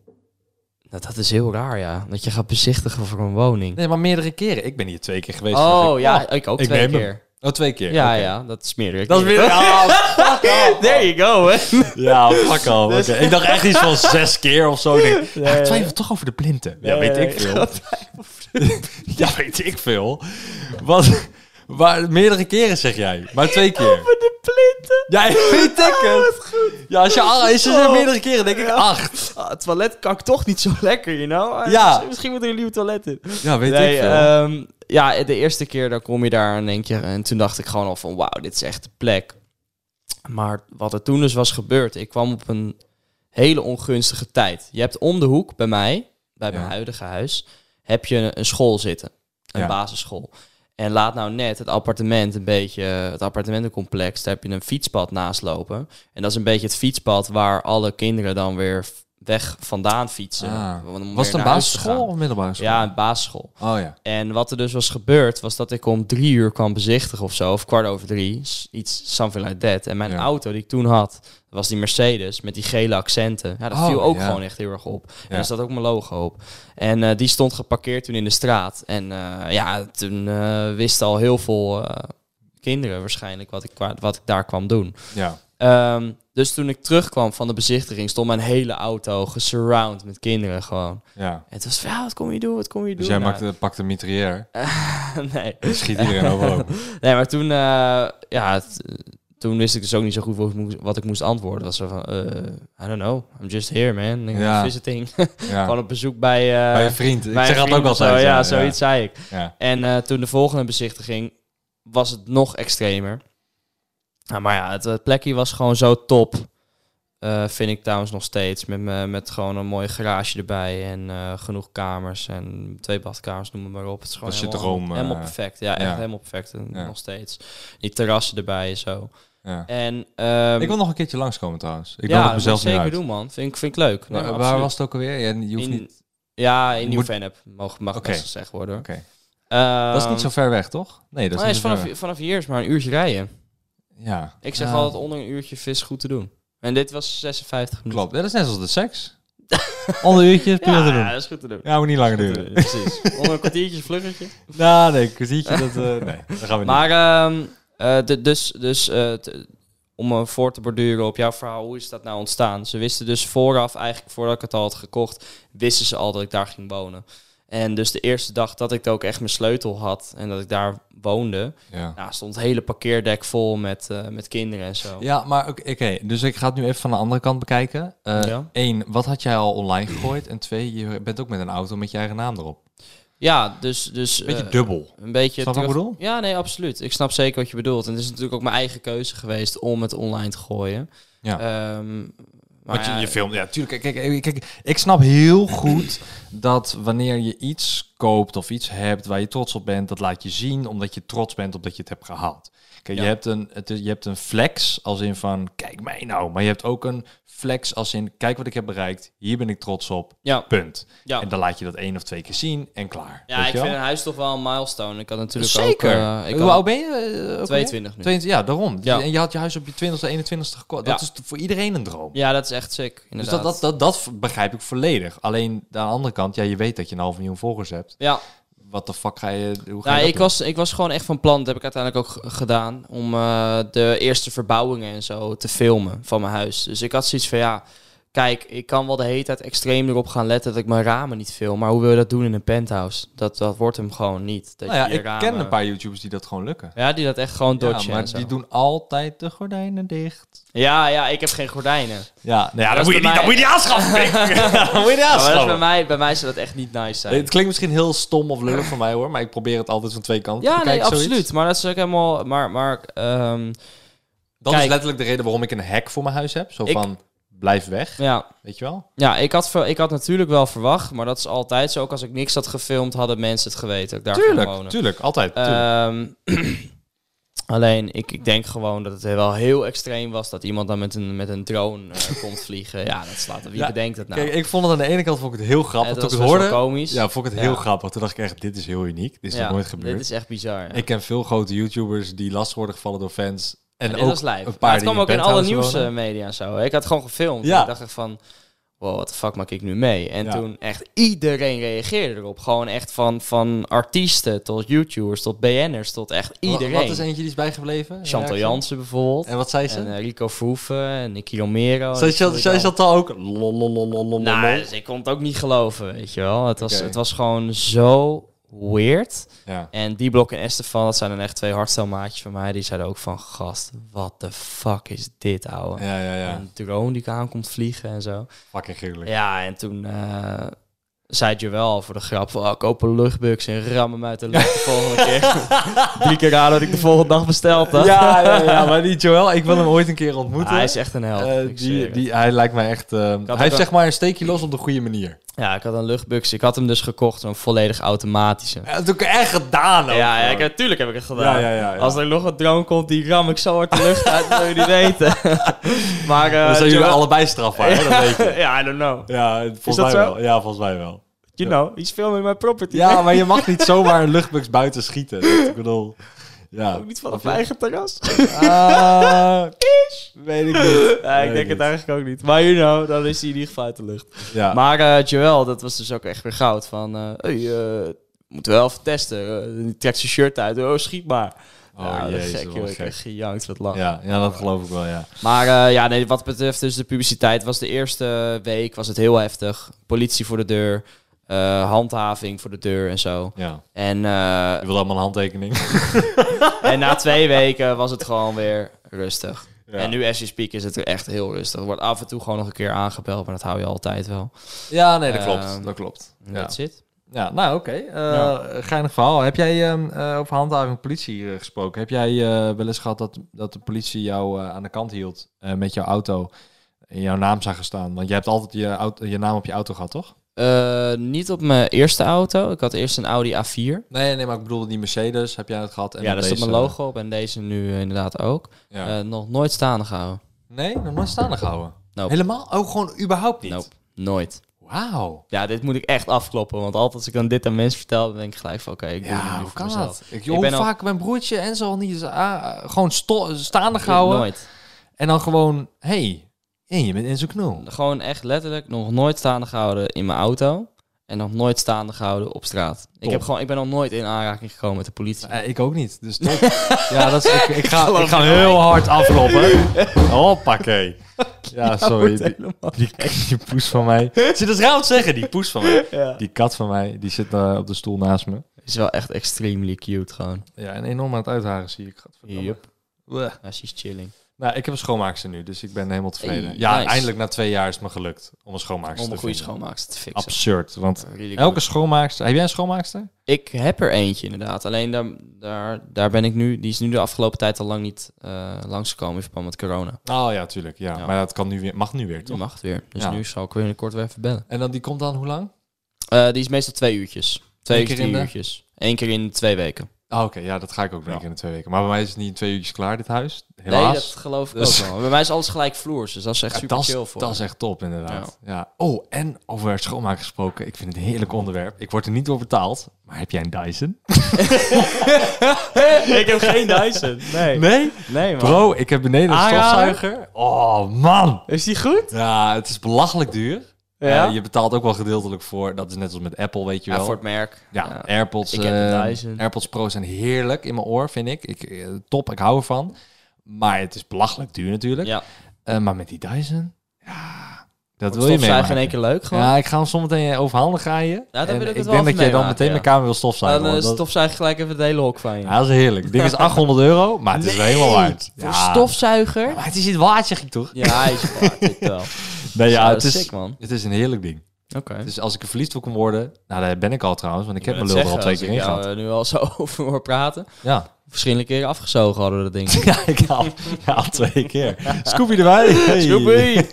Speaker 2: nou, dat is heel raar, ja. Dat je gaat bezichtigen voor een woning.
Speaker 1: Nee, maar meerdere keren. Ik ben hier twee keer geweest.
Speaker 2: oh,
Speaker 1: Dus ik-
Speaker 2: ja, ik ook
Speaker 1: ik
Speaker 2: twee
Speaker 1: neem hem.
Speaker 2: keer.
Speaker 1: Oh, twee keer.
Speaker 2: Ja,
Speaker 1: Oké.
Speaker 2: ja, dat is meerdere
Speaker 1: Dat is
Speaker 2: keren.
Speaker 1: weer... Ah,
Speaker 2: There you go, hè.
Speaker 1: ja, fuck al.
Speaker 2: Dus-
Speaker 1: Ik dacht echt iets van zes keer of zo. Ik denk, ja,
Speaker 2: ja,
Speaker 1: ik
Speaker 2: ja.
Speaker 1: twijfel toch over de plinten. Ja, weet ik veel. Ja, weet ik veel. Wat... Waar, meerdere keren zeg jij, maar twee keer.
Speaker 2: de plinten.
Speaker 1: Ja, weet
Speaker 2: Oh,
Speaker 1: ik het. Ja, als je, als je zegt meerdere keren, denk ik acht.
Speaker 2: Ah, het toilet kan ik toch niet zo lekker, you know? Ah,
Speaker 1: Ja.
Speaker 2: dus Misschien moet er een nieuw toilet in.
Speaker 1: Ja, weet
Speaker 2: Nee,
Speaker 1: ik veel.
Speaker 2: ehm, ja, de eerste keer dan kom je daar en denk je... En toen dacht ik gewoon al van, wauw, dit is echt de plek. Maar wat er toen dus was gebeurd... Ik kwam op een hele ongunstige tijd. Je hebt om de hoek bij mij, bij mijn
Speaker 1: Ja.
Speaker 2: huidige huis... heb je een school zitten. Een
Speaker 1: Ja.
Speaker 2: basisschool. En laat nou net het appartement een beetje... Het appartementencomplex, daar heb je een fietspad naast lopen. En dat is een beetje het fietspad waar alle kinderen dan weer weg vandaan fietsen.
Speaker 1: Ah.
Speaker 2: om weer
Speaker 1: Was het een
Speaker 2: naar huis te
Speaker 1: basisschool
Speaker 2: gaan.
Speaker 1: of middelbare school?
Speaker 2: Ja, een basisschool.
Speaker 1: Oh ja.
Speaker 2: En wat er dus was gebeurd, was dat ik om drie uur kwam bezichtigen of zo, of kwart over drie, s- iets, something like that. En mijn
Speaker 1: Ja.
Speaker 2: auto die ik toen had, was die Mercedes met die gele accenten. Ja, dat
Speaker 1: Oh,
Speaker 2: viel ook
Speaker 1: ja.
Speaker 2: gewoon echt heel erg op.
Speaker 1: Ja.
Speaker 2: En er zat ook mijn logo op. En eh, die stond geparkeerd toen in de straat. En eh, ja, toen eh, wisten al heel veel eh, kinderen waarschijnlijk wat ik, kwa- wat ik daar kwam doen.
Speaker 1: Ja.
Speaker 2: Ehm, dus toen ik terugkwam van de bezichtiging, stond mijn hele auto gesurround met kinderen gewoon.
Speaker 1: ja.
Speaker 2: En het was van, ja, wat kom je doen, wat kom je doen?
Speaker 1: Dus jij
Speaker 2: Nou,
Speaker 1: maakte, pakte een mitrailleur
Speaker 2: nee.
Speaker 1: en schiet iedereen overlopen.
Speaker 2: Nee, maar toen, eh, ja, t- toen wist ik dus ook niet zo goed wat ik moest, wat ik moest antwoorden. Dat was zo van, eh, I don't know, I'm just here, man. I'm
Speaker 1: Ja.
Speaker 2: visiting.
Speaker 1: Ja.
Speaker 2: Gewoon op bezoek bij... eh,
Speaker 1: Bij een vriend. Ik
Speaker 2: bij
Speaker 1: zeg
Speaker 2: een
Speaker 1: dat ook
Speaker 2: vriend of zo.
Speaker 1: altijd.
Speaker 2: Ja, zoiets zei ik.
Speaker 1: Ja.
Speaker 2: En eh, toen de volgende bezichtiging was het nog extremer. Nou, maar ja, het, eh, plekje was gewoon zo top. Eh, vind ik trouwens nog steeds. Met, me- met gewoon een mooie garage erbij. En eh, genoeg kamers. En twee badkamers, noem het maar op. Het is gewoon
Speaker 1: Dat is je
Speaker 2: helemaal,
Speaker 1: droom, eh,
Speaker 2: helemaal perfect. Ja, echt
Speaker 1: ja.
Speaker 2: helemaal perfect. En
Speaker 1: Ja.
Speaker 2: Nog steeds. Die terrassen erbij en zo.
Speaker 1: Ja.
Speaker 2: En, ehm,
Speaker 1: Ik wil nog een keertje langskomen trouwens. Ik
Speaker 2: ja,
Speaker 1: dacht
Speaker 2: dat
Speaker 1: het mezelf
Speaker 2: moet je
Speaker 1: niet
Speaker 2: zeker
Speaker 1: uit.
Speaker 2: doen, man. Vind, ik- vind ik leuk. Nee,
Speaker 1: Waar-
Speaker 2: maar
Speaker 1: waar
Speaker 2: absoluut.
Speaker 1: was het ook alweer? Ja, je hoeft
Speaker 2: In-
Speaker 1: niet...
Speaker 2: Ja,
Speaker 1: Je
Speaker 2: in nieuw
Speaker 1: moet-
Speaker 2: fan Mag, mag
Speaker 1: Oké.
Speaker 2: best gezegd worden.
Speaker 1: Oké.
Speaker 2: Ehm,
Speaker 1: dat is niet zo ver weg, toch? Nee, dat is
Speaker 2: maar
Speaker 1: niet
Speaker 2: is
Speaker 1: zo ver
Speaker 2: vanaf,
Speaker 1: weg.
Speaker 2: vanaf hier is maar een uurtje rijden.
Speaker 1: Ja.
Speaker 2: Ik zeg
Speaker 1: Ja,
Speaker 2: altijd onder een uurtje vis goed te doen. En dit was 56 minuten.
Speaker 1: Klopt. Ja, dat is net als de seks. Onder een uurtje, prima
Speaker 2: Ja,
Speaker 1: te doen.
Speaker 2: dat is goed te doen.
Speaker 1: Ja, moet niet langer duren.
Speaker 2: Precies. onder een kwartiertje een vluggetje.
Speaker 1: Nou, nee, kwartiertje, dat... eh, nee, dat gaan we niet.
Speaker 2: Maar, ehm, eh, de- dus, dus eh, t- om me voor te borduren op jouw verhaal, hoe is dat nou ontstaan? Ze wisten dus vooraf, eigenlijk voordat ik het al had gekocht, wisten ze al dat ik daar ging wonen. En dus de eerste dag dat ik ook echt mijn sleutel had en dat ik daar woonde,
Speaker 1: Ja.
Speaker 2: nou, stond het hele parkeerdek vol met, eh, met kinderen en zo.
Speaker 1: Oh. Ja, maar oké, oké, dus ik ga het nu even van de andere kant bekijken. Eh
Speaker 2: Ja.
Speaker 1: Eén, wat had jij al online gegooid? En twee, je bent ook met een auto met je eigen naam erop.
Speaker 2: Ja, dus... dus
Speaker 1: Een beetje
Speaker 2: eh,
Speaker 1: dubbel.
Speaker 2: Een beetje
Speaker 1: Snap je wat ik
Speaker 2: terug-
Speaker 1: bedoel?
Speaker 2: Ja, nee, absoluut. Ik snap zeker wat je bedoelt. En het is natuurlijk ook mijn eigen keuze geweest om het online te gooien.
Speaker 1: Ja.
Speaker 2: Ehm, maar
Speaker 1: Want je,
Speaker 2: ja,
Speaker 1: je film, ja, tuurlijk. Kijk, kijk, kijk, ik snap heel goed dat wanneer je iets koopt of iets hebt waar je trots op bent, dat laat je zien omdat je trots bent op dat je het hebt gehaald. Kijk,
Speaker 2: Ja.
Speaker 1: je, hebt een, het is- je hebt een flex als in van, kijk mij nou. Maar je hebt ook een flex als in, kijk wat ik heb bereikt, hier ben ik trots op,
Speaker 2: ja,
Speaker 1: punt.
Speaker 2: ja.
Speaker 1: En dan laat je dat één of twee keer zien en klaar.
Speaker 2: Ja,
Speaker 1: Weet
Speaker 2: ik
Speaker 1: je wel?
Speaker 2: vind een huis toch wel een milestone. Ik had natuurlijk
Speaker 1: Zeker.
Speaker 2: ook... eh, ik
Speaker 1: Hoe
Speaker 2: had
Speaker 1: oud ben je? eh, ook alweer?
Speaker 2: 22 nu.
Speaker 1: 22, ja, daarom.
Speaker 2: Ja.
Speaker 1: En je had je huis op je 20 e 21ste gekocht. Dat
Speaker 2: Ja.
Speaker 1: is voor iedereen een droom.
Speaker 2: Ja, dat is echt sick,
Speaker 1: dus
Speaker 2: inderdaad.
Speaker 1: dat, dat, dat, dat begrijp ik volledig. Alleen aan de andere kant, ja, je weet dat je een half miljoen volgers hebt.
Speaker 2: Ja,
Speaker 1: Wat de fuck ga je... Hoe ga
Speaker 2: nou,
Speaker 1: je dat
Speaker 2: ik,
Speaker 1: doen?
Speaker 2: was, ik was gewoon echt van plan, dat heb ik uiteindelijk ook g- gedaan, om eh, de eerste verbouwingen en zo te filmen van mijn huis. Dus ik had zoiets van, ja, kijk, ik kan wel de hele tijd extreem erop gaan letten dat ik mijn ramen niet film, maar hoe wil je dat doen in een penthouse? Dat, dat wordt hem gewoon niet. Dat
Speaker 1: Nou ja,
Speaker 2: je eh, je
Speaker 1: ik
Speaker 2: ramen-
Speaker 1: ken een paar YouTubers die dat gewoon lukken.
Speaker 2: Ja, die dat echt gewoon
Speaker 1: Ja,
Speaker 2: dodgen
Speaker 1: maar
Speaker 2: en zo.
Speaker 1: die doen altijd de gordijnen dicht.
Speaker 2: Ja, ja, ik heb geen gordijnen.
Speaker 1: Ja, nou ja,
Speaker 2: Dat
Speaker 1: dat,
Speaker 2: is
Speaker 1: moet je
Speaker 2: bij
Speaker 1: niet, dat
Speaker 2: mij-
Speaker 1: moet je niet aanschaffen. Pik. dat moet je niet
Speaker 2: Ja, maar dat is bij,
Speaker 1: aanschaffen.
Speaker 2: mij, bij mij zou dat echt niet nice zijn.
Speaker 1: Het klinkt misschien heel stom of lullig van mij hoor, maar ik probeer het altijd van twee kanten te
Speaker 2: Ja, nee,
Speaker 1: bekijken. zoiets.
Speaker 2: absoluut. Maar dat is ook helemaal... Maar, maar ehm,
Speaker 1: Dat
Speaker 2: Kijk.
Speaker 1: is letterlijk de reden waarom ik een hek voor mijn huis heb. Zo
Speaker 2: Ik-
Speaker 1: van, blijf weg.
Speaker 2: Ja,
Speaker 1: Weet je wel?
Speaker 2: ja ik, had, ver- ik had natuurlijk wel verwacht, maar dat is altijd zo. Ook als ik niks had gefilmd, hadden mensen het geweten. dat ik daar ging
Speaker 1: Tuurlijk,
Speaker 2: wonen.
Speaker 1: tuurlijk. Altijd. tuurlijk.
Speaker 2: Ehm, alleen, ik, ik denk gewoon dat het wel heel extreem was dat iemand dan met een, met een drone eh, komt vliegen. Ja, dat slaat. Wie
Speaker 1: Ja,
Speaker 2: bedenkt dat nou?
Speaker 1: Kijk, ik vond het aan de ene kant vond ik het heel grappig.
Speaker 2: Eh,
Speaker 1: Toen
Speaker 2: dat
Speaker 1: ik het
Speaker 2: was best wel
Speaker 1: hoorde,
Speaker 2: komisch.
Speaker 1: ja, vond ik het heel
Speaker 2: Ja.
Speaker 1: grappig. Toen dacht ik echt, dit is heel uniek. Dit is
Speaker 2: Ja,
Speaker 1: nog nooit gebeurd.
Speaker 2: Dit is echt bizar. ja.
Speaker 1: Ik ken veel grote YouTubers die last worden gevallen door fans. En
Speaker 2: Ja, dit
Speaker 1: ook
Speaker 2: was live.
Speaker 1: een
Speaker 2: Maar
Speaker 1: paar
Speaker 2: het
Speaker 1: die
Speaker 2: kwam ook in alle
Speaker 1: penthouse wonen.
Speaker 2: nieuwsmedia en zo. Ik had gewoon gefilmd.
Speaker 1: Ja.
Speaker 2: Ik dacht echt van, wow, wat de fuck maak ik nu mee? En
Speaker 1: Ja.
Speaker 2: toen echt iedereen reageerde erop. Gewoon echt van, van artiesten tot YouTubers tot BN'ers tot echt
Speaker 1: Wa-
Speaker 2: eh, iedereen.
Speaker 1: Wat is eentje die is bijgebleven?
Speaker 2: Chantal
Speaker 1: Reactie?
Speaker 2: Jansen bijvoorbeeld.
Speaker 1: En wat zei ze?
Speaker 2: En eh, Rico Verhoeven en Nicky Romero.
Speaker 1: Zij
Speaker 2: Dat
Speaker 1: zat,
Speaker 2: vond ik
Speaker 1: zij
Speaker 2: al-
Speaker 1: zat al ook. lolololololol.
Speaker 2: Nou, dus ik kon het ook niet geloven, weet je wel. Het was,
Speaker 1: Oké.
Speaker 2: het was gewoon zo weird.
Speaker 1: Ja.
Speaker 2: En die blok en Estefan, dat zijn dan echt twee hartstelmaatjes van mij. Die zeiden ook van, gast, wat de fuck is dit, ouwe?
Speaker 1: ja, ja, ja.
Speaker 2: Een drone die aankomt vliegen en zo.
Speaker 1: Fucking gruwelijk.
Speaker 2: Ja, en toen eh, zei je wel voor de grap van, oh, koop een luchtbux en ram hem uit de lucht de volgende keer. Drie keer raar dat ik de volgende dag besteld had.
Speaker 1: Ja, ja, ja, maar die Joel, ik wil hem ooit een keer
Speaker 2: Ah,
Speaker 1: ontmoeten.
Speaker 2: hij is echt een held.
Speaker 1: Eh,
Speaker 2: ik zweer
Speaker 1: die,
Speaker 2: het.
Speaker 1: die, hij lijkt mij echt. ehm, hij
Speaker 2: ook
Speaker 1: heeft
Speaker 2: een-
Speaker 1: zeg maar een steekje los op de goede manier.
Speaker 2: Ja, ik had een luchtbux. Ik had hem dus gekocht, zo'n volledig automatische.
Speaker 1: Dat heb ik echt gedaan ook.
Speaker 2: Ja, ja
Speaker 1: gewoon.
Speaker 2: ik, natuurlijk heb ik het gedaan.
Speaker 1: Ja, ja, ja, ja.
Speaker 2: Als er nog een drone komt, die ram ik zo hard de lucht uit, dat wil je niet weten. maar eh,
Speaker 1: Dan zijn jullie
Speaker 2: Joel-
Speaker 1: allebei strafbaar, hè? dat weet je.
Speaker 2: ja, I don't know.
Speaker 1: Ja, volgens
Speaker 2: dat
Speaker 1: mij
Speaker 2: zo?
Speaker 1: wel. Ja, volgens mij wel.
Speaker 2: You know, he's filming my property.
Speaker 1: Ja, maar je mag niet zomaar een luchtbux buiten schieten. Dat- Ik bedoel, ja.
Speaker 2: Ook niet vanaf mijn eigen terras.
Speaker 1: Ah, weet ik niet.
Speaker 2: ja, ik
Speaker 1: Weet niet.
Speaker 2: denk het eigenlijk ook niet. Maar you know, dan is hij in ieder geval uit de lucht.
Speaker 1: Ja.
Speaker 2: Maar eh Joel, dat was dus ook echt weer goud. Van, eh hey, eh moeten we wel even testen. Eh, die trekt zijn shirt uit. Oh, schiet maar.
Speaker 1: Oh,
Speaker 2: ja, dat is
Speaker 1: jezus,
Speaker 2: gek,
Speaker 1: wat
Speaker 2: joh. Ik
Speaker 1: gek.
Speaker 2: heb gejankt wat lang.
Speaker 1: ja, ja, dat geloof ik wel, ja.
Speaker 2: Maar eh, ja, nee, wat betreft dus de publiciteit, was de eerste week was het heel heftig. Politie voor de deur, eh, handhaving voor de deur en zo.
Speaker 1: ja.
Speaker 2: En, eh,
Speaker 1: Je wil allemaal een handtekening.
Speaker 2: en na twee weken was het gewoon weer rustig.
Speaker 1: Ja.
Speaker 2: En nu, as you speak, is het er echt heel rustig. Er wordt af en toe gewoon nog een keer aangebeld, maar dat hou je altijd wel.
Speaker 1: Ja, nee, dat
Speaker 2: Eh,
Speaker 1: klopt. Dat klopt. Ja,
Speaker 2: Dat zit.
Speaker 1: ja nou, oké. Eh, Geinig verhaal. Heb jij ehm, eh, over handhaving politie eh, gesproken? Heb jij eh, wel eens gehad dat, dat de politie jou eh, aan de kant hield eh, met jouw auto en jouw naam zag gestaan? Want je hebt altijd je, auto, je naam op je auto gehad, toch?
Speaker 2: Eh, niet op mijn eerste auto. Ik had eerst een Audi A4.
Speaker 1: Nee, nee, maar ik bedoel die Mercedes. Heb jij het gehad? En
Speaker 2: ja,
Speaker 1: dan
Speaker 2: daar stond mijn
Speaker 1: deze-
Speaker 2: logo op en deze nu eh, inderdaad ook.
Speaker 1: Ja.
Speaker 2: Eh, nog nooit staande gehouden.
Speaker 1: Nee, nog nooit staande gehouden.
Speaker 2: Nope.
Speaker 1: Helemaal? Oh, gewoon überhaupt niet?
Speaker 2: Nope, nooit.
Speaker 1: Wauw.
Speaker 2: Ja, dit moet ik echt afkloppen. Want altijd als ik dan dit aan mensen vertel, dan denk ik gelijk van... Oké, ik doe het
Speaker 1: Ja,
Speaker 2: nu
Speaker 1: hoe
Speaker 2: voor
Speaker 1: kan
Speaker 2: mezelf.
Speaker 1: dat? Ik, joh, hoe
Speaker 2: ben al-
Speaker 1: vaak mijn broertje en zo al niet eens, ah, gewoon sto- staande
Speaker 2: Dit
Speaker 1: gehouden.
Speaker 2: Nooit.
Speaker 1: En dan gewoon, hey, en je bent in zo'n knul.
Speaker 2: Gewoon echt letterlijk nog nooit staande gehouden in mijn auto. En nog nooit staande gehouden op straat. Ik,
Speaker 1: Top.
Speaker 2: heb gewoon, ik ben nog nooit in aanraking gekomen met de politie.
Speaker 1: Eh, ik ook niet, dus top. ja, dat is, ik, ik ga,
Speaker 2: geloof
Speaker 1: ik ga
Speaker 2: het
Speaker 1: heel hard afkloppen. Hoppakee. Ja, sorry. Die,
Speaker 2: Helemaal.
Speaker 1: die, die poes van mij. Zit het raar om te zeggen, die poes van mij.
Speaker 2: Ja.
Speaker 1: Die kat van mij, die zit eh, op de stoel naast me.
Speaker 2: Is wel echt extremely cute gewoon.
Speaker 1: Ja, en enorm aan het uitharen zie ik. Gadverdamme.
Speaker 2: Yup.
Speaker 1: Bleh.
Speaker 2: Ja, ze is chilling.
Speaker 1: Nou, ik heb een schoonmaakster nu, dus ik ben helemaal tevreden.
Speaker 2: Hey,
Speaker 1: ja,
Speaker 2: nice.
Speaker 1: eindelijk na twee jaar is het me gelukt om een schoonmaakster
Speaker 2: Om een
Speaker 1: te
Speaker 2: goede
Speaker 1: vinden.
Speaker 2: schoonmaakster te fixen.
Speaker 1: Absurd, want
Speaker 2: Really
Speaker 1: elke
Speaker 2: good.
Speaker 1: schoonmaakster... Heb jij een schoonmaakster?
Speaker 2: Ik heb er eentje inderdaad. Alleen daar, daar, daar ben ik nu... Die is nu de afgelopen tijd al lang niet eh langsgekomen in verband met corona.
Speaker 1: Oh ja, tuurlijk. Ja.
Speaker 2: Ja.
Speaker 1: Maar dat kan nu weer, mag nu weer,
Speaker 2: Die
Speaker 1: toch?
Speaker 2: mag het weer. Dus
Speaker 1: Ja.
Speaker 2: nu zal ik binnenkort weer even bellen.
Speaker 1: En dan, die komt dan hoe lang?
Speaker 2: Eh, die is meestal twee uurtjes. Twee
Speaker 1: Eén
Speaker 2: uurtjes,
Speaker 1: keer in
Speaker 2: drie
Speaker 1: de-
Speaker 2: uurtjes. Eén keer in twee weken.
Speaker 1: Oh, oké. Ja, dat ga ik ook
Speaker 2: Ja.
Speaker 1: denken in de twee weken. Maar bij mij is het niet in twee uurtjes klaar, dit huis.
Speaker 2: Nee,
Speaker 1: Helaas.
Speaker 2: dat geloof ik
Speaker 1: Dus-
Speaker 2: ook wel. Bij mij is alles gelijk vloers, dus dat is echt
Speaker 1: Ja,
Speaker 2: super
Speaker 1: dat, is-
Speaker 2: chill voor.
Speaker 1: dat is echt top, inderdaad. Ja. Oh, en over schoonmaak gesproken. Ik vind het een heerlijk onderwerp. Ik word er niet door betaald. Maar heb jij een Dyson?
Speaker 2: ik heb geen Dyson. Nee.
Speaker 1: Nee?
Speaker 2: Nee, man.
Speaker 1: Bro, ik heb beneden een
Speaker 2: Aanrader?
Speaker 1: stofzuiger. Oh, man.
Speaker 2: Is die goed?
Speaker 1: Ja, het is belachelijk duur.
Speaker 2: Ja.
Speaker 1: Eh, je betaalt ook wel gedeeltelijk voor. Dat is net als met Apple, weet je
Speaker 2: Ja,
Speaker 1: wel.
Speaker 2: voor het merk.
Speaker 1: Ja,
Speaker 2: Ja.
Speaker 1: AirPods,
Speaker 2: Ik heb een
Speaker 1: eh,
Speaker 2: Dyson.
Speaker 1: AirPods Pro zijn heerlijk in mijn oor, vind ik. ik eh, top, ik hou ervan. Maar het is belachelijk duur natuurlijk.
Speaker 2: Ja.
Speaker 1: Eh, maar met die Dyson, ja, dat wil je
Speaker 2: Stofzuigen in één
Speaker 1: meemaken.
Speaker 2: keer leuk gewoon.
Speaker 1: Ja, ik ga hem zometeen eh, overhandig aan je. En
Speaker 2: dan wil ik het
Speaker 1: ik
Speaker 2: wel
Speaker 1: denk dat
Speaker 2: even
Speaker 1: jij dan
Speaker 2: meemaken,
Speaker 1: meteen
Speaker 2: ja.
Speaker 1: mijn kamer wil stofzuigen.
Speaker 2: Dan eh,
Speaker 1: want dat,
Speaker 2: stofzuigen gelijk even het hele hok van je.
Speaker 1: ja, dat is heerlijk. Dit is 800 euro, maar het is wel helemaal waard.
Speaker 2: Voor
Speaker 1: Ja.
Speaker 2: stofzuiger?
Speaker 1: Maar het is niet waard, zeg ik toch?
Speaker 2: Ja, hij is waard, dit wel.
Speaker 1: Nee, ja,
Speaker 2: Zo,
Speaker 1: het is,
Speaker 2: sick, man.
Speaker 1: het is een heerlijk ding.
Speaker 2: Oké.
Speaker 1: Dus als ik er verliefd op kan worden, nou daar ben ik al trouwens, want ik heb
Speaker 2: wil
Speaker 1: mijn
Speaker 2: het
Speaker 1: lul er al
Speaker 2: zeggen,
Speaker 1: twee
Speaker 2: als
Speaker 1: keer
Speaker 2: ik eh.
Speaker 1: in
Speaker 2: jou,
Speaker 1: gehad.
Speaker 2: eh, nu al zo over hoor praten.
Speaker 1: Ja.
Speaker 2: Verschillende keren afgezogen hadden we dat ding.
Speaker 1: Ja, ik haal, ja, al twee keer. Scooby erbij. Hey.
Speaker 2: Joepie!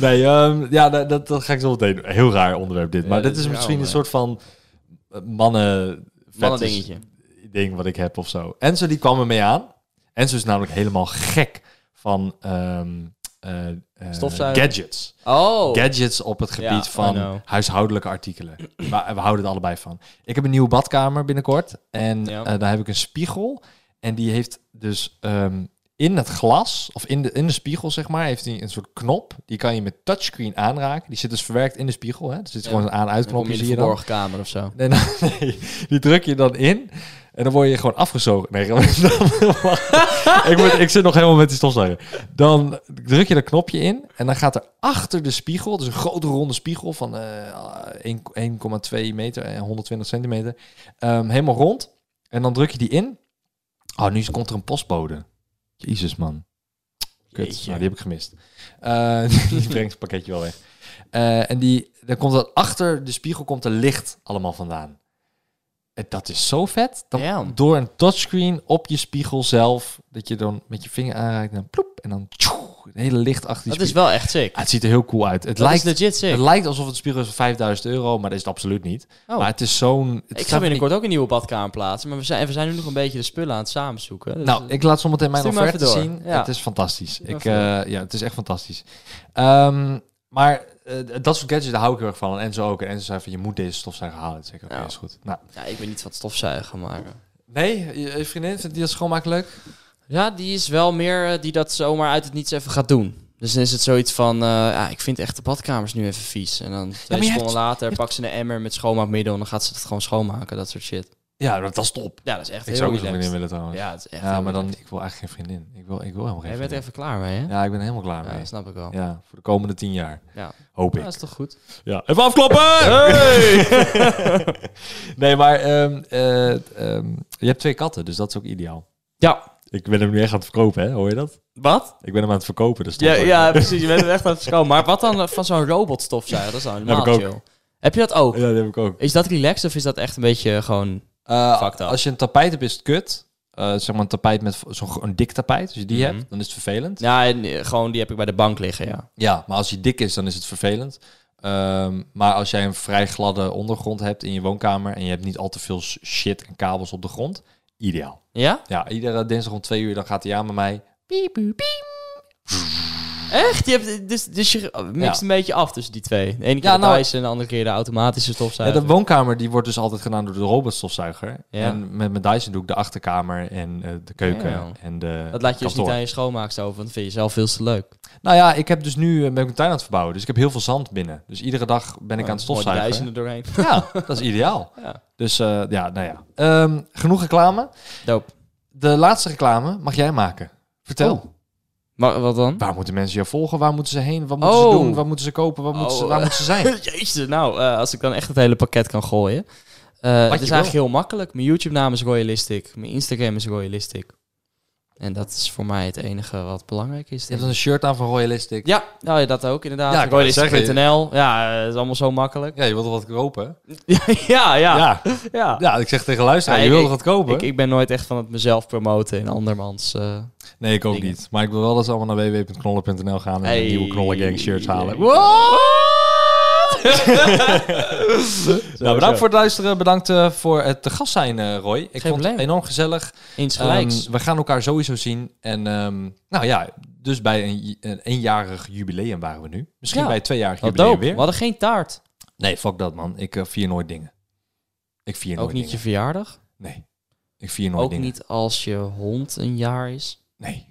Speaker 1: nee, ehm, ja, dat, dat, dat ga ik zo meteen. Heel raar onderwerp dit.
Speaker 2: Ja,
Speaker 1: Maar
Speaker 2: dit
Speaker 1: dit
Speaker 2: is
Speaker 1: is
Speaker 2: raar
Speaker 1: misschien een
Speaker 2: onderwerp.
Speaker 1: soort van eh, mannen...
Speaker 2: Mannen
Speaker 1: fetish
Speaker 2: dingetje.
Speaker 1: ding wat ik heb of zo. Enzo die kwam ermee aan. Enzo is namelijk helemaal gek van... ehm eh, eh,
Speaker 2: Stofzuigen.
Speaker 1: Gadgets.
Speaker 2: Oh.
Speaker 1: Gadgets op het gebied
Speaker 2: Ja, I
Speaker 1: van
Speaker 2: know.
Speaker 1: huishoudelijke artikelen. Maar we houden het allebei van. Ik heb een nieuwe badkamer binnenkort. En
Speaker 2: Ja.
Speaker 1: eh, daar heb ik een spiegel. En die heeft dus ehm, in het glas, of in de, in de spiegel zeg maar, heeft hij een soort knop. Die kan je met touchscreen aanraken. Die zit dus verwerkt in de spiegel. Hè? Er zit
Speaker 2: Ja.
Speaker 1: gewoon een
Speaker 2: Dan kom je
Speaker 1: aan-uitknopje,
Speaker 2: in
Speaker 1: zie
Speaker 2: de
Speaker 1: je dan.
Speaker 2: verborgen kamer of zo.
Speaker 1: Nee, nou, nee, die druk je dan in. En dan word je gewoon afgezogen. Nee, gewoon- dan- wacht. ik, word, ik zit nog helemaal met die stofzuiger. Dan druk je dat knopje in. En dan gaat er achter de spiegel, dus een grote ronde spiegel van eh, 1 1,2 meter en 120 centimeter, ehm, helemaal rond. En dan druk je die in. Oh, nu komt er een postbode. Jezus, man. Kut,
Speaker 2: Jeetje.
Speaker 1: nou, die heb ik gemist. Eh, die brengt het pakketje wel weg. Eh, en die, dan komt dat achter de spiegel komt er licht allemaal vandaan. En dat is zo vet. Dan
Speaker 2: Damn.
Speaker 1: door een touchscreen op je spiegel zelf, dat je dan met je vinger aanraakt en dan ploep, en dan tjoe, het hele licht achter die
Speaker 2: Dat is
Speaker 1: spiegel.
Speaker 2: wel echt sick.
Speaker 1: Ah, het ziet er heel cool uit. Het,
Speaker 2: Dat is
Speaker 1: lijkt,
Speaker 2: legit
Speaker 1: het
Speaker 2: sick.
Speaker 1: lijkt alsof het een spiegel is van 5000 euro, maar dat is het absoluut niet.
Speaker 2: Oh.
Speaker 1: Maar het is zo'n... het
Speaker 2: Ik
Speaker 1: staat
Speaker 2: ga
Speaker 1: niet-
Speaker 2: binnenkort ook een nieuwe badkamer plaatsen, maar we zijn, we zijn nu nog een beetje de spullen aan het samenzoeken. Dus
Speaker 1: Nou, ik laat zometeen mijn
Speaker 2: Stuur maar
Speaker 1: offerte
Speaker 2: even door.
Speaker 1: zien.
Speaker 2: Ja.
Speaker 1: Het is fantastisch.
Speaker 2: maar
Speaker 1: Ik,
Speaker 2: even
Speaker 1: eh, ja, het is echt fantastisch. Ehm, maar eh, dat soort gadgets, daar hou ik heel erg van. En zo ook. En Enzo zei van, je moet deze stofzuiger halen. Ik zeg, oké,
Speaker 2: Ja.
Speaker 1: is goed. Nou,
Speaker 2: ja, ik ben niet van het stofzuigen, maar... eh,
Speaker 1: nee, je, je vriendin, vindt die dat schoonmaken leuk?
Speaker 2: Ja, die is wel meer eh, die dat zomaar uit het niets even gaat doen. Dus dan is het zoiets van, eh, ja, ik vind echt de badkamers nu even vies. En dan twee
Speaker 1: je
Speaker 2: seconden
Speaker 1: hebt-
Speaker 2: later pakt ze een emmer met schoonmaakmiddel en dan gaat ze het gewoon schoonmaken, dat soort shit.
Speaker 1: Ja, dat, dat is top.
Speaker 2: Ja, dat is echt
Speaker 1: Ik
Speaker 2: heel
Speaker 1: zou ook zo'n
Speaker 2: relaxed.
Speaker 1: vriendin willen trouwens. Ja,
Speaker 2: Ja, het is echt
Speaker 1: maar dan, ik wil eigenlijk geen vriendin. Ik wil, ik wil helemaal geen
Speaker 2: Jij bent er
Speaker 1: vriendin.
Speaker 2: even klaar mee, hè?
Speaker 1: Ja, ik ben er helemaal klaar
Speaker 2: Ja,
Speaker 1: mee.
Speaker 2: dat snap ik wel. Ja,
Speaker 1: Ja, voor de komende tien jaar.
Speaker 2: Ja.
Speaker 1: Hoop ik.
Speaker 2: dat is toch goed?
Speaker 1: Ja, even afkloppen! nee, maar ehm, eh, ehm, je hebt twee katten, dus dat is ook ideaal.
Speaker 2: Ja.
Speaker 1: Ik ben hem nu echt aan het verkopen, hè? hoor je dat?
Speaker 2: Wat?
Speaker 1: Ik ben hem aan het verkopen. Dus
Speaker 2: Ja, ja, precies. Je bent er echt aan het verschoon. Maar wat dan eh, van zo'n robotstofzuiger? Dat is dan helemaal
Speaker 1: Heb ik ook.
Speaker 2: chill. Heb je dat ook?
Speaker 1: ja, dat heb ik ook.
Speaker 2: Is dat relaxed of is dat echt een beetje eh, gewoon... Fucked up.
Speaker 1: als je een tapijt hebt, is het kut. Eh, zeg maar een tapijt met zo'n gro- een dik tapijt. Als je die
Speaker 2: Mhm.
Speaker 1: hebt, dan is het vervelend. Ja.
Speaker 2: Ja, en, eh, gewoon die heb ik bij de bank liggen, ja.
Speaker 1: maar als je dik is, dan is het vervelend. Ehm, maar als jij een vrij gladde ondergrond hebt in je woonkamer en je hebt niet al te veel s- shit en kabels op de grond, ideaal.
Speaker 2: Ja?
Speaker 1: Ja, iedere dinsdag om twee uur dan gaat hij aan met mij. Piep, piep, piep.
Speaker 2: Echt? Je hebt, dus, dus je mixt
Speaker 1: Ja.
Speaker 2: een beetje af tussen die twee. De ene keer
Speaker 1: Ja,
Speaker 2: de
Speaker 1: nou-
Speaker 2: Dyson en de andere keer de automatische
Speaker 1: Ja,
Speaker 2: stofzuiger.
Speaker 1: de woonkamer die wordt dus altijd gedaan door de robotstofzuiger.
Speaker 2: Ja.
Speaker 1: En met mijn Dyson doe ik de achterkamer en eh, de keuken
Speaker 2: Ja.
Speaker 1: en de
Speaker 2: dat laat je dus
Speaker 1: kantoor.
Speaker 2: niet aan je schoonmaakster over, want dat vind je zelf veel te leuk.
Speaker 1: Nou ja, ik heb dus nu eh, ben ik mijn tuin aan het verbouwen. Dus ik heb heel veel zand binnen. Dus iedere dag ben ik aan het
Speaker 2: Mooi die
Speaker 1: stofzuigen.
Speaker 2: Dyson er doorheen.
Speaker 1: Ja, dat is ideaal.
Speaker 2: Oh, Ja.
Speaker 1: Dus eh, ja, nou ja. Ehm, genoeg reclame.
Speaker 2: Doop.
Speaker 1: De laatste reclame mag jij maken. Vertel.
Speaker 2: Oh. Maar wat dan?
Speaker 1: Waar moeten mensen jou volgen? Waar moeten ze heen? Wat moeten
Speaker 2: Oh.
Speaker 1: ze doen? Wat moeten ze kopen? Wat moeten ze,
Speaker 2: Oh,
Speaker 1: waar
Speaker 2: eh.
Speaker 1: moeten ze zijn?
Speaker 2: Jezus, nou, eh, als ik dan echt het hele pakket kan gooien. Eh, het is
Speaker 1: wil.
Speaker 2: eigenlijk heel makkelijk. Mijn YouTube-naam is Royalistic. Mijn Instagram is Royalistic. En dat is voor mij het enige wat belangrijk is.
Speaker 1: Je
Speaker 2: denk
Speaker 1: hebt
Speaker 2: ik.
Speaker 1: een shirt aan van Royalistic.
Speaker 2: Ja, nou, ja, dat ook inderdaad.
Speaker 1: Ja, ik wou net
Speaker 2: Royalistic.nl. Ja, eh, het is allemaal zo makkelijk.
Speaker 1: Ja, je wilt toch wat kopen?
Speaker 2: ja, ja. ja.
Speaker 1: Ja. Ja, ik zeg tegen luisteraar,
Speaker 2: Ja,
Speaker 1: je
Speaker 2: ik-
Speaker 1: wilt toch wat kopen?
Speaker 2: Ik, ik ben nooit echt van het mezelf promoten in andermans. eh
Speaker 1: nee, ik ook
Speaker 2: ik-
Speaker 1: niet. Maar ik wil wel dat ze allemaal naar www.knollen.nl gaan en
Speaker 2: Hey.
Speaker 1: een nieuwe Knollen Gang shirts halen. Nou, bedankt voor het luisteren. Bedankt eh, voor het te gast zijn, eh, Roy. Ik vond
Speaker 2: probleem.
Speaker 1: het enorm gezellig.
Speaker 2: Insgelijks.
Speaker 1: Ehm, we gaan elkaar sowieso zien. En ehm, nou ja, dus bij een, een eenjarig jubileum waren we nu. Misschien
Speaker 2: Ja.
Speaker 1: bij een tweejarig
Speaker 2: Wat
Speaker 1: jubileum
Speaker 2: dope.
Speaker 1: weer.
Speaker 2: We hadden geen taart.
Speaker 1: Nee, fuck dat, man. Ik eh, vier nooit dingen. Ik vier nooit
Speaker 2: Ook niet je
Speaker 1: dingen.
Speaker 2: verjaardag.
Speaker 1: Nee. Ik vier nooit
Speaker 2: ook
Speaker 1: dingen.
Speaker 2: niet als je hond een jaar is.
Speaker 1: Nee.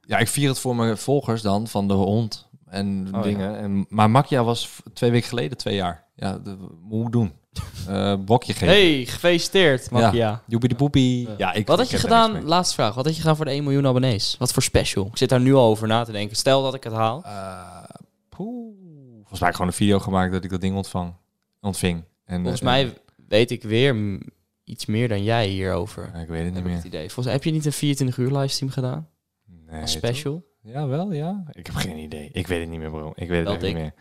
Speaker 1: Ja, ik vier het voor mijn volgers dan, van de hond en
Speaker 2: Oh,
Speaker 1: dingen. En, maar Makia was v- twee weken geleden twee jaar. Ja, dat moet ik doen. Eh brokje geven.
Speaker 2: Hey, gefeliciteerd, Makia.
Speaker 1: Joepie de poepie.
Speaker 2: Ja.
Speaker 1: Ja, ik,
Speaker 2: Wat
Speaker 1: ik
Speaker 2: had je
Speaker 1: heb er niks
Speaker 2: gedaan,
Speaker 1: mee.
Speaker 2: laatste vraag, wat had je gedaan voor de 1 miljoen abonnees? Wat voor special? Ik zit daar nu al over na te denken. Stel dat ik het haal.
Speaker 1: Eh, poeh. Volgens mij heb ik gewoon een video gemaakt dat ik dat ding ontvang, ontving. En,
Speaker 2: Volgens
Speaker 1: eh,
Speaker 2: mij weet ik weer m- iets meer dan jij hierover.
Speaker 1: eh, ik weet het niet
Speaker 2: Heb ik
Speaker 1: meer.
Speaker 2: het idee. Volgens mij heb je niet een 24 uur livestream gedaan?
Speaker 1: Nee,
Speaker 2: Als special?
Speaker 1: toch? Ja, wel, ja. Ik heb geen idee. Ik weet het niet meer, bro. Ik weet het
Speaker 2: Wel
Speaker 1: echt niet
Speaker 2: dik.
Speaker 1: meer.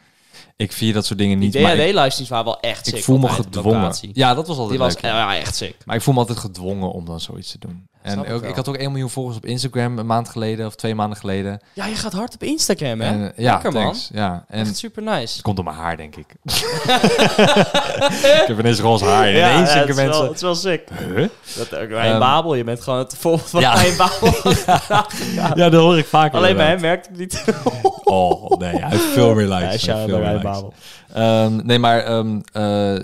Speaker 1: Ik vier dat soort dingen
Speaker 2: Die
Speaker 1: niet. maar ik-
Speaker 2: DHD-livestreams waren wel echt
Speaker 1: ik,
Speaker 2: sick.
Speaker 1: voel me
Speaker 2: altijd, op
Speaker 1: gedwongen.
Speaker 2: locatie.
Speaker 1: Ja, dat was altijd
Speaker 2: Die was
Speaker 1: leuk.
Speaker 2: ja, echt sick.
Speaker 1: Maar ik voel me altijd gedwongen om dan zoiets te doen.
Speaker 2: Snap
Speaker 1: En
Speaker 2: ik
Speaker 1: ook,
Speaker 2: wel.
Speaker 1: ik had ook 1 miljoen volgers op Instagram een maand geleden of twee maanden geleden.
Speaker 2: Ja, je gaat hard op Instagram, hè?
Speaker 1: En, eh, ja,
Speaker 2: Lekker, man.
Speaker 1: thanks. Ja, en
Speaker 2: echt super nice.
Speaker 1: het komt door mijn haar, denk ik. ik heb ineens roze haar. En ineens denken mensen...
Speaker 2: is wel sick.
Speaker 1: Huh?
Speaker 2: Dat, ook Ryan
Speaker 1: Ehm,
Speaker 2: Babel, je bent gewoon het volgende van
Speaker 1: Ja.
Speaker 2: Ryan Babel.
Speaker 1: Ja, dat hoor ik vaak.
Speaker 2: Alleen bij hem merkt het niet.
Speaker 1: Oh, nee, hij heeft veel meer likes.
Speaker 2: Ja,
Speaker 1: Hij heeft
Speaker 2: shout-out
Speaker 1: veel
Speaker 2: naar
Speaker 1: meer
Speaker 2: Ryan
Speaker 1: likes.
Speaker 2: Babel.
Speaker 1: Ehm, nee, maar ehm, eh,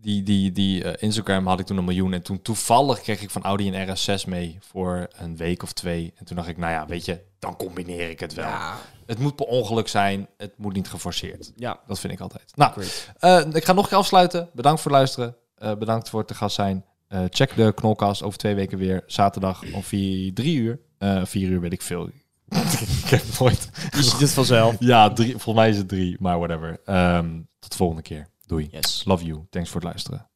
Speaker 1: die, die, die eh, Instagram had ik toen een miljoen. En toen toevallig kreeg ik van Audi een RS6 mee voor een week of twee. En toen dacht ik, nou ja, weet je, dan combineer ik het wel.
Speaker 2: Ja.
Speaker 1: Het moet per ongeluk zijn. Het moet niet geforceerd.
Speaker 2: ja.
Speaker 1: Dat vind ik altijd. Nou,
Speaker 2: Great.
Speaker 1: eh, ik ga nog een keer afsluiten. Bedankt voor het luisteren. Eh, bedankt voor het te gast zijn. Eh, check de knolkast over twee weken weer. Zaterdag om vier, drie uur. Eh vier uur weet ik veel. ik heb nooit...
Speaker 2: Je ziet het vanzelf.
Speaker 1: Ja, drie, volgens mij is het drie. Maar whatever. Ehm, tot de volgende keer. Doei.
Speaker 2: Yes.
Speaker 1: Love you. Thanks voor het luisteren.